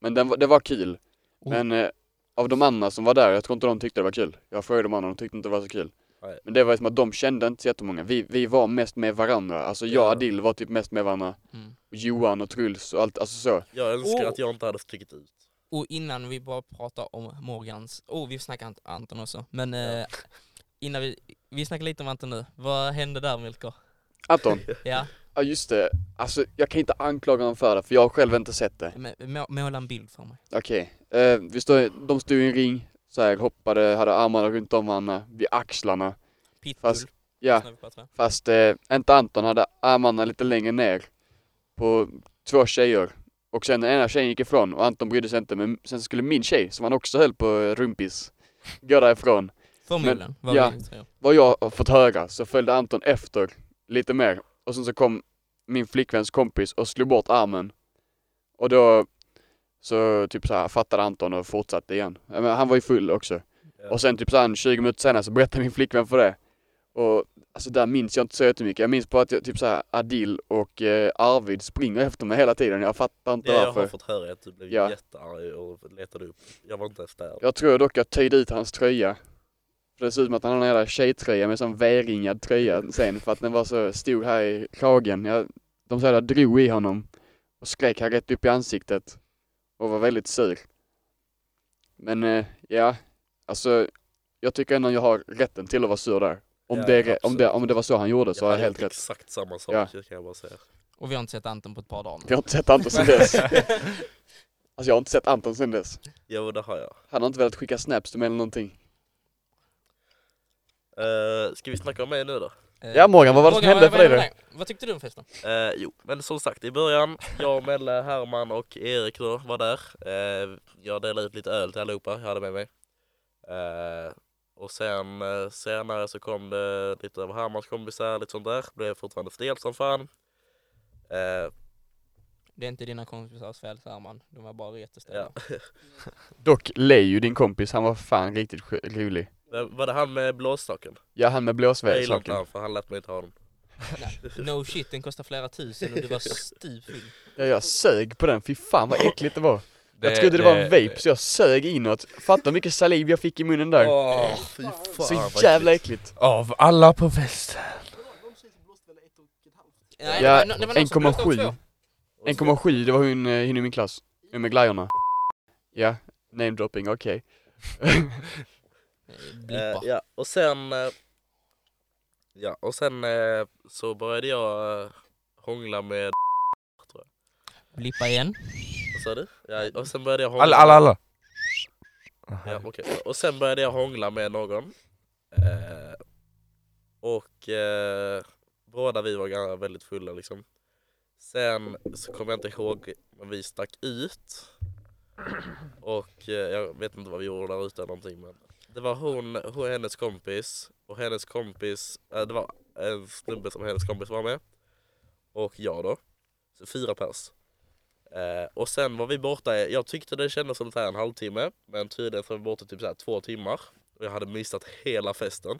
B: Men den, var- det var kul.
C: Oh.
B: Men eh, av de andra som var där, jag tror inte de tyckte det var kul. Jag frågade de andra, de tyckte inte det var så kul.
C: Nej.
B: Men det var som att de kände inte så jättemånga. Vi, vi var mest med varandra. Alltså jag och
C: Ja.
B: Adil var typ mest med varandra.
D: Mm.
B: Och Johan och Truls och allt, alltså så.
C: Jag önskar
D: Oh.
C: att jag inte hade stuckit ut.
D: Och innan vi bara pratar om Morgans, oh vi snackar inte Anton också, men eh, innan vi, vi snackar lite om Anton nu. Vad hände där Milko?
B: Anton,
D: Ja,
B: ja just det. Alltså jag kan inte anklaga honom för det, för jag har själv inte sett det.
D: men må- måla en bild för mig.
B: Okej, eh, vi stod, de stod i en ring, så här, hoppade, hade armarna runt om varandra, vid axlarna.
D: Pitbull.
B: Fast Ja,
D: när vi pratar med.
B: fast eh, inte Anton hade armarna lite längre ner på två tjejer. Och sen den ena tjejen gick ifrån och Anton brydde sig inte men sen skulle min tjej, som han också höll på eh, rumpis, gå därifrån.
D: Förmodligen, vad
B: ja.
D: vi tror.
B: vad jag har fått höra så följde Anton efter lite mer och sen så kom min flickväns kompis och slog bort armen. Och då så typ så här fattade Anton och fortsatte igen. Ja, Men han var ju full också.
C: Ja.
B: Och sen typ så här, en 20 minuter senare så berättade min flickvän för det. Och alltså där minns jag inte så jättemycket. Jag minns bara att jag, typ så här, Adil och eh, Arvid springer efter mig hela tiden. Jag fattar inte
C: Ja, jag
B: varför.
C: har
B: Jag,
C: fått höra att du blev
B: Ja.
C: jättearg och letade upp. Jag var inte ens där.
B: tror dock jag töjde ut hans tröja. För det ser ut som att han har en jävla tjejtröja med en sån V-ringad tröja sen för att den var så stor här i kragen. Jag, de sådär drog i honom och skrek här rätt upp i ansiktet och var väldigt sur. Men eh, ja, alltså jag tycker ändå jag har rätten till att vara sur där. Om,
C: Ja,
B: det, är- om, det,
C: absolut.
B: om det var så han gjorde så har jag
C: hade
B: helt
C: gjort
B: rätt.
C: Exakt samma sak
B: Ja.
C: kan jag bara säga.
D: Och vi har inte sett Anton på ett par dagar nu.
B: Jag har inte sett Anton sen dess. Alltså jag har inte sett Anton sen dess.
C: Jo det har jag.
B: Han har inte velat skicka snaps till mig eller någonting.
C: Uh, ska vi snacka om mig nu då?
D: Eh,
B: Ja Morgan, vad var det som
D: Morgan,
B: hände för dig
D: hände
B: då?
D: med Vad tyckte du om festen?
C: Eh, jo, men som sagt i början, jag, Melle, Herman och Erik då var där. Eh, jag delade ut lite öl till allihopa jag hade med mig. Eh, och sen eh, senare så kom det lite av Hermans kompisar, lite sånt där. Blev fortfarande stel som fan. Eh,
D: Det är inte dina kompisars fel Herman, de var bara reteställda.
C: ja.
B: Dock Leju, din kompis, han var fan riktigt sk- rolig.
C: Men var det han med blåstaken?
B: Ja han med
C: Jag gillar inte
B: blåsvägshaken.
C: han för han lät mig inte ha den.
D: No shit, den kostar flera tusen och du var stupfull.
B: Ja jag sög på den, fy fan vad äckligt det var.
E: Det-
B: jag trodde det var en
E: det-
B: vape så jag sög inåt. Fatta hur mycket saliv jag fick i munnen där.
C: Åh, fy fan
B: så
C: vad
B: jävla äckligt.
E: Av alla på festen.
F: De tjejer som blåste väl ett och ett halvt.
D: Nej,
B: Ja,
D: det var no- det var någon som blåste upp
B: 1,7.
D: två.
B: 1,7 det var hon, eh, hon i min klass. Hon med glajjorna. Ja, name dropping, okej.
D: Eh,
C: Eh,
D: Blippar.
C: ja, och sen... Eh, ja, och sen eh, så började jag eh, hångla med...
D: Blippa igen.
C: Vad sa du? Ja, och sen började jag hångla...
E: Alla, alla, alla.
C: Ja, okej. Och sen började jag hångla med någon. Eh, och eh, båda vi var ganska, väldigt fulla liksom. Sen så kommer jag inte ihåg, men vi stack ut. Och eh, jag vet inte vad vi gjorde där ute eller någonting men Det var hon, hon och hennes kompis och hennes kompis, eh, det var en snubbe som hennes kompis var med. Och jag då. Så fyra pers. Eh, och sen var vi borta, jag tyckte det kändes som så här en halvtimme Men tydligen så var vi borta typ så här två timmar Och jag hade missat hela festen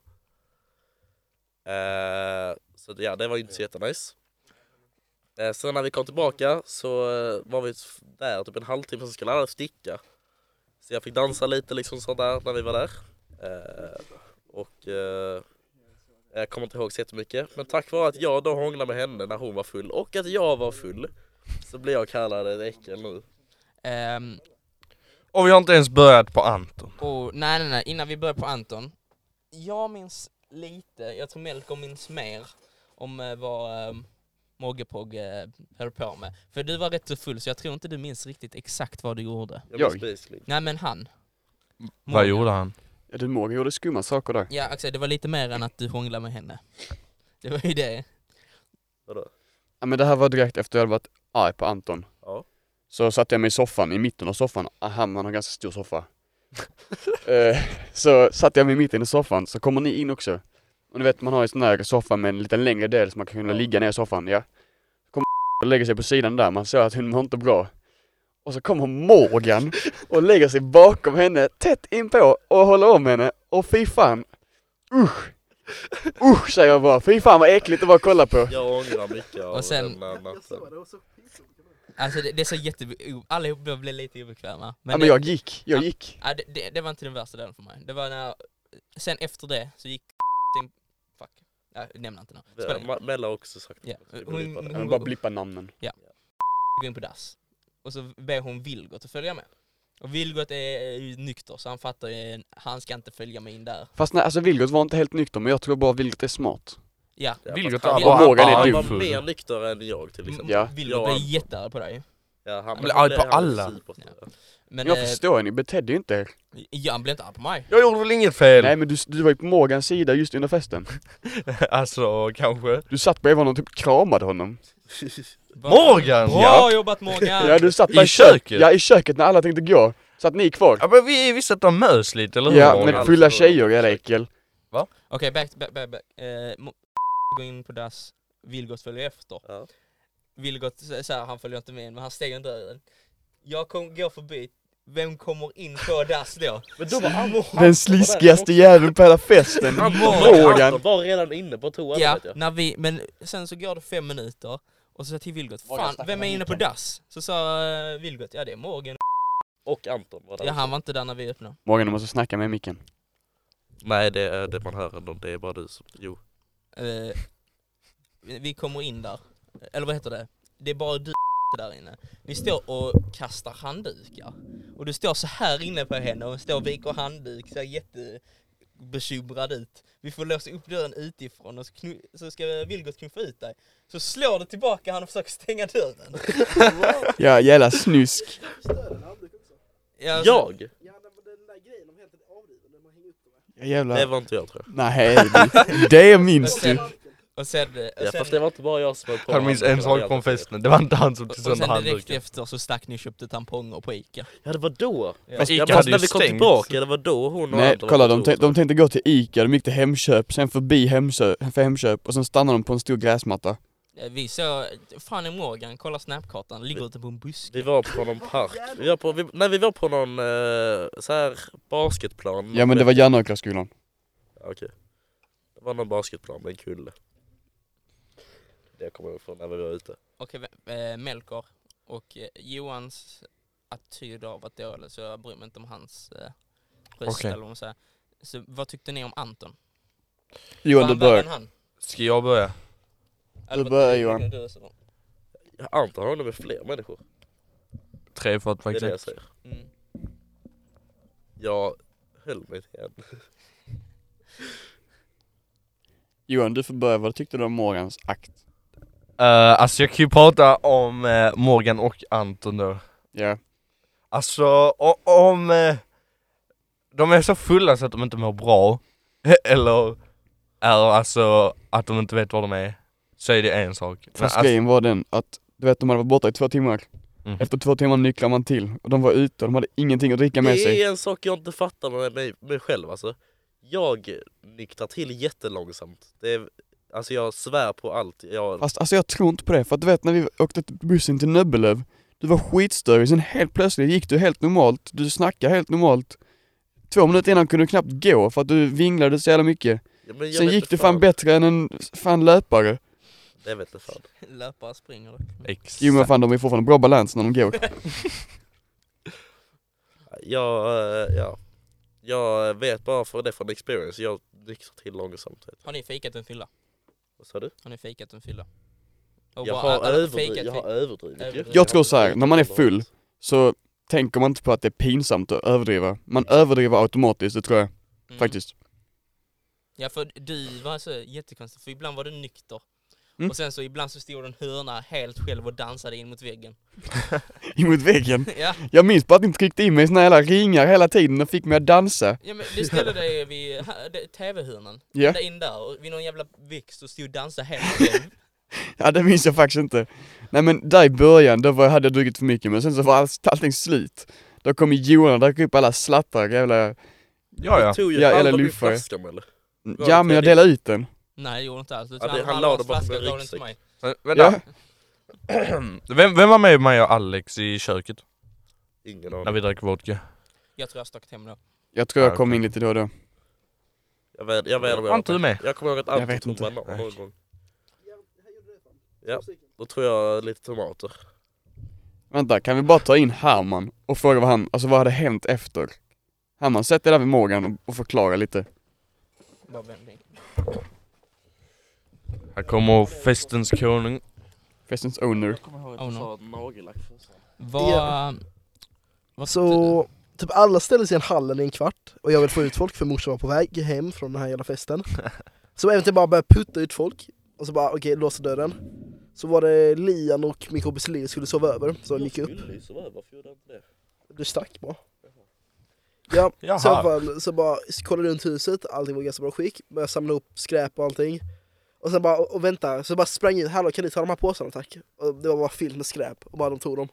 C: eh, Så ja, det var ju inte så jättenice eh, Sen när vi kom tillbaka så eh, var vi där typ en halvtimme, så skulle alla sticka Så jag fick dansa lite liksom sånt där när vi var där eh, Och eh, jag kommer inte ihåg så jättemycket Men tack vare att jag då hånglade med henne när hon var full och att jag var full så blir jag kallad ett äckel nu.
D: Ehm,
E: Och vi har inte ens börjat på Anton.
D: och, nej, nej, nej, innan vi börjar på Anton. Jag minns lite, jag tror Melker minns mer om eh, vad eh, Moggepogg eh, höll på med. För du var rätt så full så jag tror inte du minns riktigt exakt vad du gjorde.
C: Jag
B: Jag?
C: minns basically.
D: Nej men han.
E: Vad gjorde han?
B: Ja du Morgan gjorde skumma saker där.
D: Ja, Axel, det var lite mer än att du hånglade med henne. Det var ju det.
C: Vadå?
B: Ja men det här var direkt efter jag hade varit arg på Anton.
C: Ja.
B: Så satte jag mig i soffan, i mitten av soffan, Ah, han han har ganska stor soffa. Eh, så satte jag mig i mitten i soffan, så kommer ni in också. Och ni vet man har ju sån där soffa med en liten längre del så man kan kunna ligga ner i soffan, ja. Kommer och lägger sig på sidan där, man ser att hon mår inte bra. Och så kommer Morgan och lägger sig bakom henne, tätt inpå och håller om henne. Och fy fan, usch! Usch säger jag bara, fy fan vad äckligt det var att kolla på.
C: Jag ångrar mycket av
D: Och sen-
C: den här
F: Jag såg
C: natten.
F: det, det var så pinsamt.
D: Alltså det, det är så jätte... Allihop blev lite obekväma. Men,
B: ja,
D: det,
B: men jag gick, jag
D: Ja.
B: gick.
D: ja, det, det, det var inte den värsta delen för mig. Det var när... Sen efter det så gick sin... Fuck. Jag nämner inte något. Spelar ingen roll.
C: Ma- Mella har också sagt
D: Ja.
C: det.
D: Hon-
C: Vi bara-
B: Jag vill bara blippa namnen.
D: Gå in på dass. Och så ber hon Vilgot att följa med. Och Vilgot är eh, nykter så han fattar ju, han ska inte följa med in där.
B: Fast nej, alltså Vilgot var inte helt nykter, men jag tror bara Vilgot är smart.
D: Ja.
C: Ja,
E: Vilket
C: fast han-
B: var- Morgan är
C: Han
B: du
C: var
E: full.
C: mer nykter än jag till exempel.
B: Liksom. Ja.
D: Vilgot
C: Ja.
D: blir jättearg på dig.
C: Ja, han
E: blir arg på
C: han blev
E: alla.
C: supert.
D: Ja. Men
B: Jag
D: eh,
B: förstår, ni betedde ju inte er.
D: ja, han blev inte arg på mig.
E: Jag gjorde väl inget fel?
B: Nej men du, du var ju på Morgans sida just under festen.
E: alltså, kanske.
B: Du satt bredvid honom och typ kramade honom.
D: Va?
E: Morgan!
D: Bra
E: Ja!
D: jobbat Morgan!
B: Ja, du satt
E: I
B: där kö-
E: köket?
B: Ja, i köket när alla tänkte gå. Satt ni kvar?
E: ja men vi visste att de mös lite, eller hur
B: Ja,
E: Morgan? Alltså,
B: men fulla tjejer är äckel.
D: Okej, back, back, back, back. Eh, Mo- går in på dass, Vilgot följer efter.
C: Ja.
D: Vilgot, så så här, han följer inte med in, men han stänger inte över den. Jag kom, går förbi, vem kommer in på dass då?
C: Men då var han
B: Den sliskigaste jäveln på hela festen. Morgan.
C: Morgan var redan inne på toan
D: ja,
C: vet jag.
D: när vi, men sen så går det fem minuter, och så sa jag till Vilgot,
G: Morgan
D: fan
G: snackar
D: vem är
G: med
D: inne på dass? Så sa eh, Vilgot, ja det är Morgan.
C: Och Anton var där
D: Ja han var inte där när vi öppnade.
B: Morgan, du måste snacka med micken.
C: Nej det är det man hör ändå, det är bara du som, jo
D: Eh, vi vi kommer in där, eller vad heter det? Det är bara du där inne. Ni står och kastar handdukar. Och du står så här inne på henne och står och viker handduk, ser jättebekymrad ut. Vi får låsa upp dörren utifrån och så, knu- så ska Vilgot knuffa ut dig. Så slår du tillbaka han och försöker stänga dörren.
B: Ja, jävla snusk.
F: Stör den handduk också?
D: Ja, så-
C: Jag?
F: Ja, den, den där grejen, de heter avriven, den man hänger upp den med.
B: Ja, jävla...
C: Det var inte jag tror jag
B: Nej, det- det minns du.
D: Och sen, och sen,
C: Ja fast det var inte bara jag som höll på
E: Han minns en sak från festen, det var inte han som
D: och
E: tog
D: sen
E: sönder
D: direkt
E: handduken.
D: efter så stack ni och köpte tamponger på Ica.
C: Ja det var då!
D: Ja.
C: Fast,
E: Ica
C: ja, fast
E: hade ju
C: när vi kom
E: stängt.
C: tillbaka, det var då hon och
B: Nej,
C: Anton
B: kolla
C: var
B: de,
C: på
B: tän-
C: toan.
B: de tänkte gå till Ica, de gick till Hemköp, sen förbi Hemköp, för hemköp och sen stannade de på en stor gräsmatta.
D: Eh, Vi såg, fan är Morgan, kolla snapkartan, ligger ute på en buske.
C: Vi var på någon park, vi var på, vi, nej vi var på någon eh, så här basketplan
B: Ja men det var Järnåkraskolan.
C: Okej Det var någon basketplan med en kulle Det kommer jag ihåg från när vi var ute
D: Okej, eh, Melker och eh, Johans attityd har varit dålig så jag bryr mig inte om hans eh, röst
E: Okej.
D: eller vad man säger. Så vad tyckte ni om Anton?
B: Johan
D: Var
B: du
D: han värre
B: bör.
D: än han?
E: Ska jag börja?
D: Eller vad
B: börjar,
D: tyckte
B: Johan.
D: du så?
C: Ja, Anton har nog med fler människor,
E: Tre för att
C: det är det
E: faktiskt.
C: jag säger
D: Mm.
C: Jag höll mig till en
B: Johan du får börja, vad tyckte du om Morgans akt?
E: Eh, alltså jag kan ju prata om eh, Morgan och Anton då.
B: Ja.
E: Alltså, o- om eh, de är så fulla så att de inte mår bra, eller är alltså att de inte vet var de är, så är det en sak. Men
B: Fast
E: alltså-
B: grejen var den att, du vet de hade varit borta i två timmar.
E: Mhm.
B: Efter två timmar nycklade man till och de var ute och de hade ingenting att dricka med sig.
C: Det är en sak jag inte fattar med mig, mig själv alltså. Jag nyktrar till jättelångsamt. Det är, alltså jag svär på allt. Jag,
B: Fast alltså jag tror inte på det, för att du vet när vi åkte till bussen till Nöbbelöv, du var skitstörig, sen helt plötsligt gick du helt normalt, du snackade helt normalt. Två minuter innan kunde du knappt gå för att du vinglade så jävla mycket.
C: Ja, men jag
B: sen
C: vet
B: gick
C: inte
B: du fan bättre än en fan löpare.
C: Det vet jag fan.
D: Löpare springer mm. dock.
E: Exakt.
B: Jo men fan de är fortfarande bra balans när de går.
C: Jag, eh, ja. jag vet bara för det från experience. Jag nyktrar till långsamt. Vet. du.
D: Har ni fejkat en fylla?
C: Vad sa du?
D: Har ni fejkat en fylla? Och
C: Jag
D: bara, "Äh,
C: har,
D: alla-
C: överdriv,
D: fejkat,
C: jag har
D: fejkat.
C: överdrivit ju.
D: Jag
B: tror så här, när man är full- Så tänker man inte på att det är pinsamt att överdriva. Man överdriver automatiskt, det tror jag
D: Mm.
B: faktiskt.
D: Ja för du var så jättekonstig, för ibland var du nykter.
B: Mm.
D: Och sen så ibland så stod du en hörna helt själv och dansade in mot väggen.
B: Emot väggen.
D: ja.
B: Jag minns bara att ni tryckte in mig i såna jävla ringar hela tiden och fick mig att dansa.
D: Ja men du ställde dig vid ha- det- TV-hörnan,
B: Ja,
D: Ända in där, och vid någon jävla växt och stod och dansade helt själv.
B: ja det minns jag faktiskt inte. Nej men där i början, då var, hade jag druckit för mycket men sen så var allt, allting slut. Då kom Johan och drack upp alla slattar jävla...
E: Ja, ja.
C: Tog ju
B: Ja,
C: ja,
B: eller
C: eller min
B: luffare.
C: flaskan eller? det
B: Ja men jag
C: trevligt?
B: delade ut den.
D: Nej det gjorde inte alls,
C: Ja, det- han
D: la
C: la
D: en
C: det bara
D: flaska
C: som en
D: och gav den
C: ryggsäck.
D: till mig.
E: Men,
B: Ja.
E: vänta. Vem, vem var med mig och Alex i köket
C: Ingen
E: när
C: aning.
E: vi drack vodka?
D: Jag tror jag stack hem då.
B: Jag tror jag
E: Ja,
B: kom
E: okej.
B: in lite då och då.
C: Jag vet, jag vet om jag
E: Var inte du med?
C: Jag kommer ihåg att
B: Jag
C: Anton
B: vet
C: tog
B: inte.
C: banan någon
E: Nej.
C: gång.
F: Ja, här gjorde det fan.
C: Ja.
F: Två stycken.
C: Då tror jag lite tomater.
B: Vänta, kan vi bara ta in Herman och fråga vad han, alltså vad hade hänt efter? Herman, sätt dig där vid Morgan och, och förklara lite.
D: Bara vändning.
E: Här kommer festens konung.
B: Festens owner.
C: kommer ihåg
D: att du sa
C: nagellack först.
D: Vad... Vad
F: Så typ alla ställde sig i en hallen i en kvart och jag ville få ut folk för morsan var på väg hem från den här jävla festen. Så även till bara började putta ut folk och så bara okej, låsa dörren. Så var det Lian och min kompis Lill skulle sova över, så de gick upp.
C: skulle ju sova, varför gjorde jag inte det?
F: Det stack bara. Ja,
E: Jaha.
F: så i alla fall så bara kollade runt huset, allting var i ganska bra skick. Började samla upp skräp och allting. Och sen bara, och, och vänta, så bara sprang in, hallå kan ni ta de här påsarna tack? Och det var bara fyllt med skräp och bara de tog dem.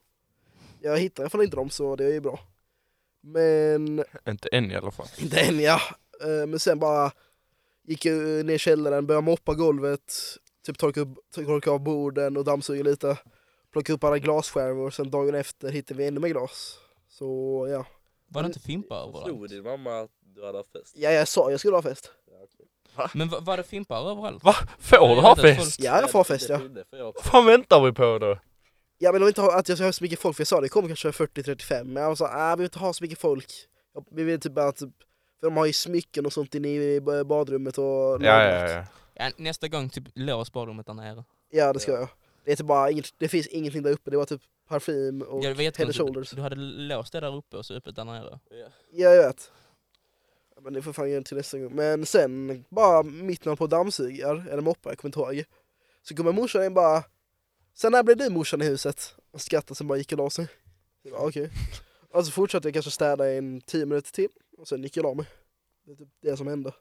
F: Jag hittade i alla fall inte dem så det är ju bra. Men
E: Inte än i alla fall.
F: inte än ja. Eh, Men sen bara gick jag ner i källaren, började moppa golvet, typ torka, upp, torka av borden och dammsuga lite. Plocka upp alla glasskärvor och sen dagen efter hittade vi ännu mer glas. Så ja.
D: Var det inte fimpar överallt?
C: din mamma att du hade haft fest?
F: Ja, jag sa jag skulle ha fest.
D: Men va- var det fimpar överallt?
E: Va? Får du ha fest?
F: Ja, jag får ha fest ja.
E: Vad fan väntar vi på då?
F: Ja men det var inte ha- att jag ska ha så mycket folk, för jag sa det kommer kanske 40-35, men jag sa nej vi vill inte ha så mycket folk. Jag- Vi vill typ bara typ, för de har ju smycken och sånt inne i badrummet och
E: Ja, ja, ja.
D: Ja, nästa gång typ lås badrummet där nere.
F: Ja, det ska jag. Det är typ bara inget, det finns ingenting där uppe, det var typ parfym och
D: Ja, det var
F: head and
D: jättekonstigt.
F: shoulders.
D: Du hade låst det där uppe och så öppet där nere.
F: Ja, jag vet. Ja, Men det får fan göra till nästa gång. Men sen, bara mitt när på dammsugar, eller moppar, jag kommer inte ihåg. Så kommer morsan in bara, sen när blev du morsan i huset? Och skrattade, sen bara gick och la sig. Jag bara, Okej. Och så fortsatte jag kanske städa i en tio minuter till, och sen gick jag och la mig. Det är typ det som hände.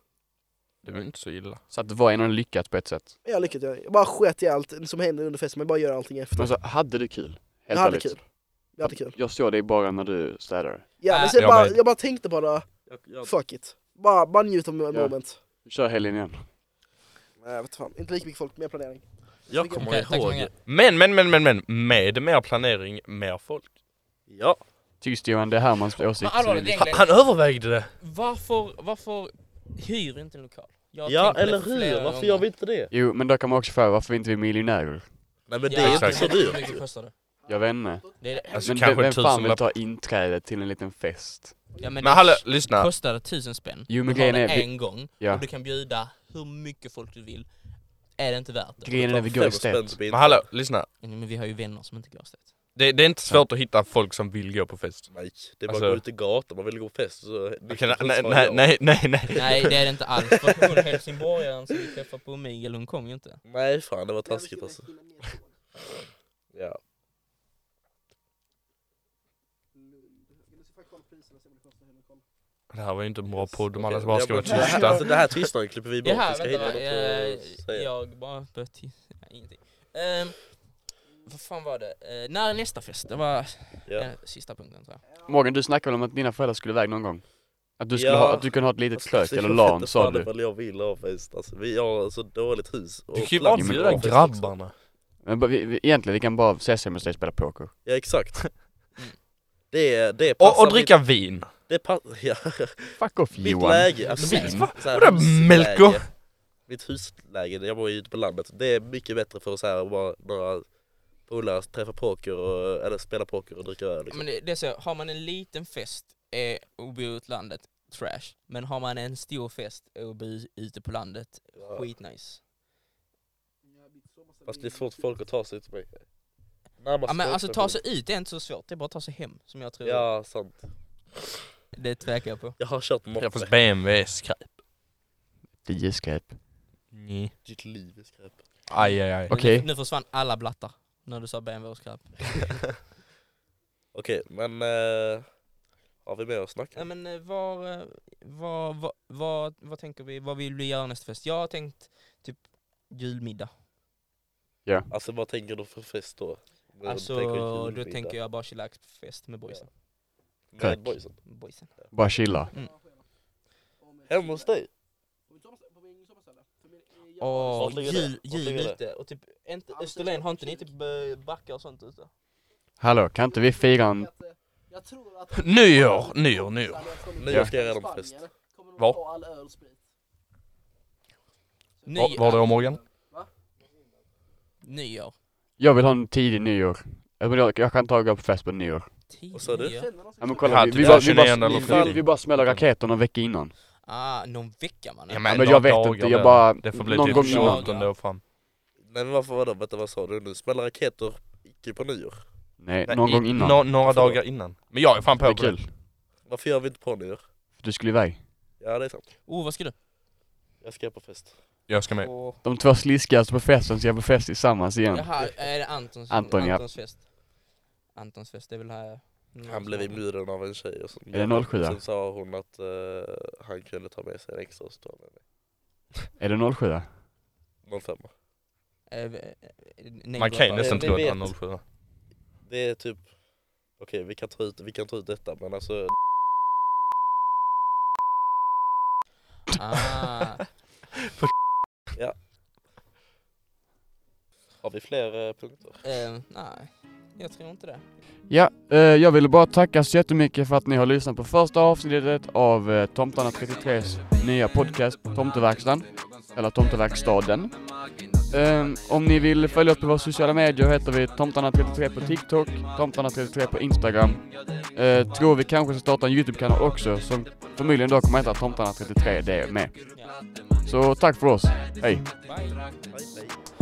E: Det var inte så illa.
B: Så att det var ändå lyckat på ett sätt.
F: Men Jag lyckades, jag- jag bara sket i allt som hände under festen, men bara gör allting efter.
B: Men så hade du kul? Helt
F: jag hade
B: ärligt.
F: kul. Jag hade kul.
B: Jag såg dig bara när du städade.
F: Ja, men
D: Äh,
F: sen
E: jag
F: bara,
E: med.
F: jag bara tänkte bara, fuck it. Bara, bara njut av moment.
B: Vi kör helgen igen.
F: Nej, vet fan. Inte lika mycket folk, mer planering.
C: Jag kommer
D: Okej, tack så
C: ihåg.
D: mycket.
E: Men, men, men, men, men. Med mer planering, mer folk.
C: Ja.
B: Tyst Johan, det är Hermans
D: Men
B: åsikt.
D: allvarligt
E: Han,
D: egentligen,
E: han övervägde det.
D: varför, varför hyr inte en lokal? Jag har tänkt
C: Ja
D: på det
C: eller
D: flera
C: hur, varför
D: gånger.
C: gör vi inte det?
B: Jo, men då kan man också fråga varför inte vi är miljonärer?
C: Nej men det
D: Ja,
C: är inte
E: exakt.
C: så
D: Hur
C: dyrt.
D: mycket kostar det?
B: Jag vet inte.
D: det är,
E: Alltså,
B: men
E: kanske
B: vem, vem
E: en
B: fan vill
E: tusenlapp.
B: ta inträde till en liten fest?
D: ja, men
E: Men
D: det
E: hallå, lyssna.
D: kostade tusen spänn.
B: Jo, men
D: du har
B: grejen är-
D: det
B: vi-
D: en gång
B: Ja.
D: och du kan bjuda hur mycket folk du vill. Är det inte värt det?
B: Grejen är vi går i
C: Fem
B: stället.
C: spänn.
E: Men hallå, lyssna.
D: Ja, Men vi har ju vänner som inte går stöd.
E: Det, det är inte svårt att hitta folk som vill gå på fest.
C: Nej, det är bara
E: Alltså-
C: att gå ut i gatan, man vill gå på fest så...
E: Okej, nej, nej, nej, nej, nej.
D: Nej det är det inte alls. För hon helsingborgaren som vi träffade på Miguel hon kom ju inte.
C: Nej fan det var taskigt alltså. Ja.
E: Det här var ju inte en bra podd om alla
C: Okej,
E: bara
C: jag
E: ska vara
C: bara-
E: tysta.
C: Alltså det här tystnaden klipper vi bort,
D: Jaha,
C: vi ska
D: vänta.
C: hinna något
D: eh,
C: att säga.
D: jag bara började... till- Nej, ingenting. Ehm, vad fan var det? Eh, när är nästa fest? Det var
C: Ja.
D: eh, sista punkten tror jag.
B: Morgan, du snackade väl om att dina föräldrar skulle iväg någon gång? Att du, skulle
C: Ja. Alltså,
B: ha, att du kunde ha ett litet kök eller lan sa du.
C: Ifall jag vill ha fest, alltså, vi har så dåligt hus och
E: Du kan ju bara
C: plats
B: men-
E: bjuda
C: för fest liksom. också.
E: grabbarna.
B: Men bara- vi, vi, egentligen, vi kan bara ses hemma hos dig och spela poker.
C: Ja exakt.
D: Mm.
C: Det, det passar
E: Och, och
C: mitt-
E: dricka vin.
C: Det passar, ja.
B: Fuck off
C: Mitt
B: Johan.
C: läge, alltså
B: Vin?
C: mitt, så här,
E: Vadå
C: husläge.
E: Melko?
C: Mitt husläge, jag bor ju ute på landet, det är mycket bättre för så här bara några polare, träffa poker och, eller spela poker och dricka öl liksom.
D: Men det, det är så, har man en liten fest eh, och bor i utlandet, trash. Men har man en stor fest och bor ute på landet,
C: Ja.
D: skitnice.
C: Fast det är svårt för folk att ta sig ut till mig. Närmast
D: Ja, men alltså ta
C: folk-
D: sig ut är inte så svårt, det är bara att ta sig hem som jag tror.
C: Ja, sant.
D: Det tvekar jag på.
C: Jag har kört moppe.
E: Ja fast BMW är skräp.
B: Det är skräp.
E: Nej.
C: Ditt liv är skräp.
E: Aj aj aj.
B: Okej.
D: Nu, nu försvann alla blattar när du sa BMW och skräp.
C: Okej, men eh, har vi mer att snacka?
D: Ja,
C: om?
D: men eh, var, eh, vad, vad, vad, vad tänker vi, vad vill vi göra nästa fest? Jag har tänkt typ julmiddag.
C: Alltså vad tänker du för fest då? När du
D: alltså då
C: julmiddag
D: tänker jag bara chillax-fest med boysen.
C: Med boysen.
D: Med boysen.
B: Bara chilla.
C: Hemma hos dig?
D: Åh,
C: Vart ligger det?
D: jul,
C: Vart
D: jul
C: ligger det?
D: ute. Och typ, inte, Österlen, har inte ni typ eh, backar och sånt ute?
B: Hallå, kan inte vi fira en...
F: eh, Jag tror att...
E: Nyår, nyår, nyår.
C: Nyår ska jag redan på fest.
E: Var?
D: Nyår.
E: Var då Morgan?
D: Nyår.
B: Jag vill ha en tidig nyår. Jag, vill- jag kan ta och gå på fest på nyår.
D: Tidigt
C: Vad sa du?
D: nyår.
B: Ja, men kolla,
E: Ja,
B: vi,
E: typ
B: vi,
E: så
B: bara, vi,
E: 29
B: bara,
E: eller
B: vi, vi,
E: 30.
B: vi bara smäller raketerna en vecka innan.
D: Ah, någon vecka mannen.
B: men jag vet inte, jag bara-
E: Det får bli
B: någon
E: typ
B: gång
E: 28
D: imorgon.
E: då fram.
C: Nej men varför vadå? Vänta vad sa du nu? Smälla raketer, icke på nyår.
B: Nej,
E: Nej,
B: någon
E: i-
B: gång innan.
E: nå- några
C: Varför då?
E: dagar innan. Men jag är fan
B: det är
E: på på det.
B: kul.
C: Varför gör vi inte på nyår?
B: Du skulle iväg.
C: Ja det är sant.
D: Oh, vad ska du?
C: Jag ska på fest.
E: Jag ska med.
D: Åh.
B: De två sliskigaste på festen ska på fest tillsammans igen.
D: Jaha, är det Antons,
B: Anton, ja.
D: Antons fest? Antons fest, det är väl här
C: Han blev inbjuden av en tjej och så,
B: Är det 07?
C: sen sa hon att eh, han kunde ta med sig en extra och så tog han
B: Är det 07?
C: med 05
D: Eh, eh, nej, eh,
E: Man kan ju
D: bara-
E: nästan
C: vi
E: tro att det
C: vet.
E: är 07
C: Det är typ Okej vi kan ta ut, vi kan ta ut detta men alltså
D: Ah,
C: har vi fler eh, punkter?
D: eh, nej, jag tror inte det.
B: Ja, eh, jag ville bara tacka så jättemycket för att ni har lyssnat på första avsnittet av eh, Tomtarna 33s nya podcast Tomteverkstan, eller Tomteverkstaden. Eh, om ni vill följa oss på våra sociala medier heter vi Tomtarna33 på TikTok, Tomtarna33 på Instagram. Eh, tror vi kanske ska starta en YouTube-kanal också som förmodligen då kommer heta Tomtarna33 det med. Så tack för oss, hej!
D: Bye.
C: Nej, nej.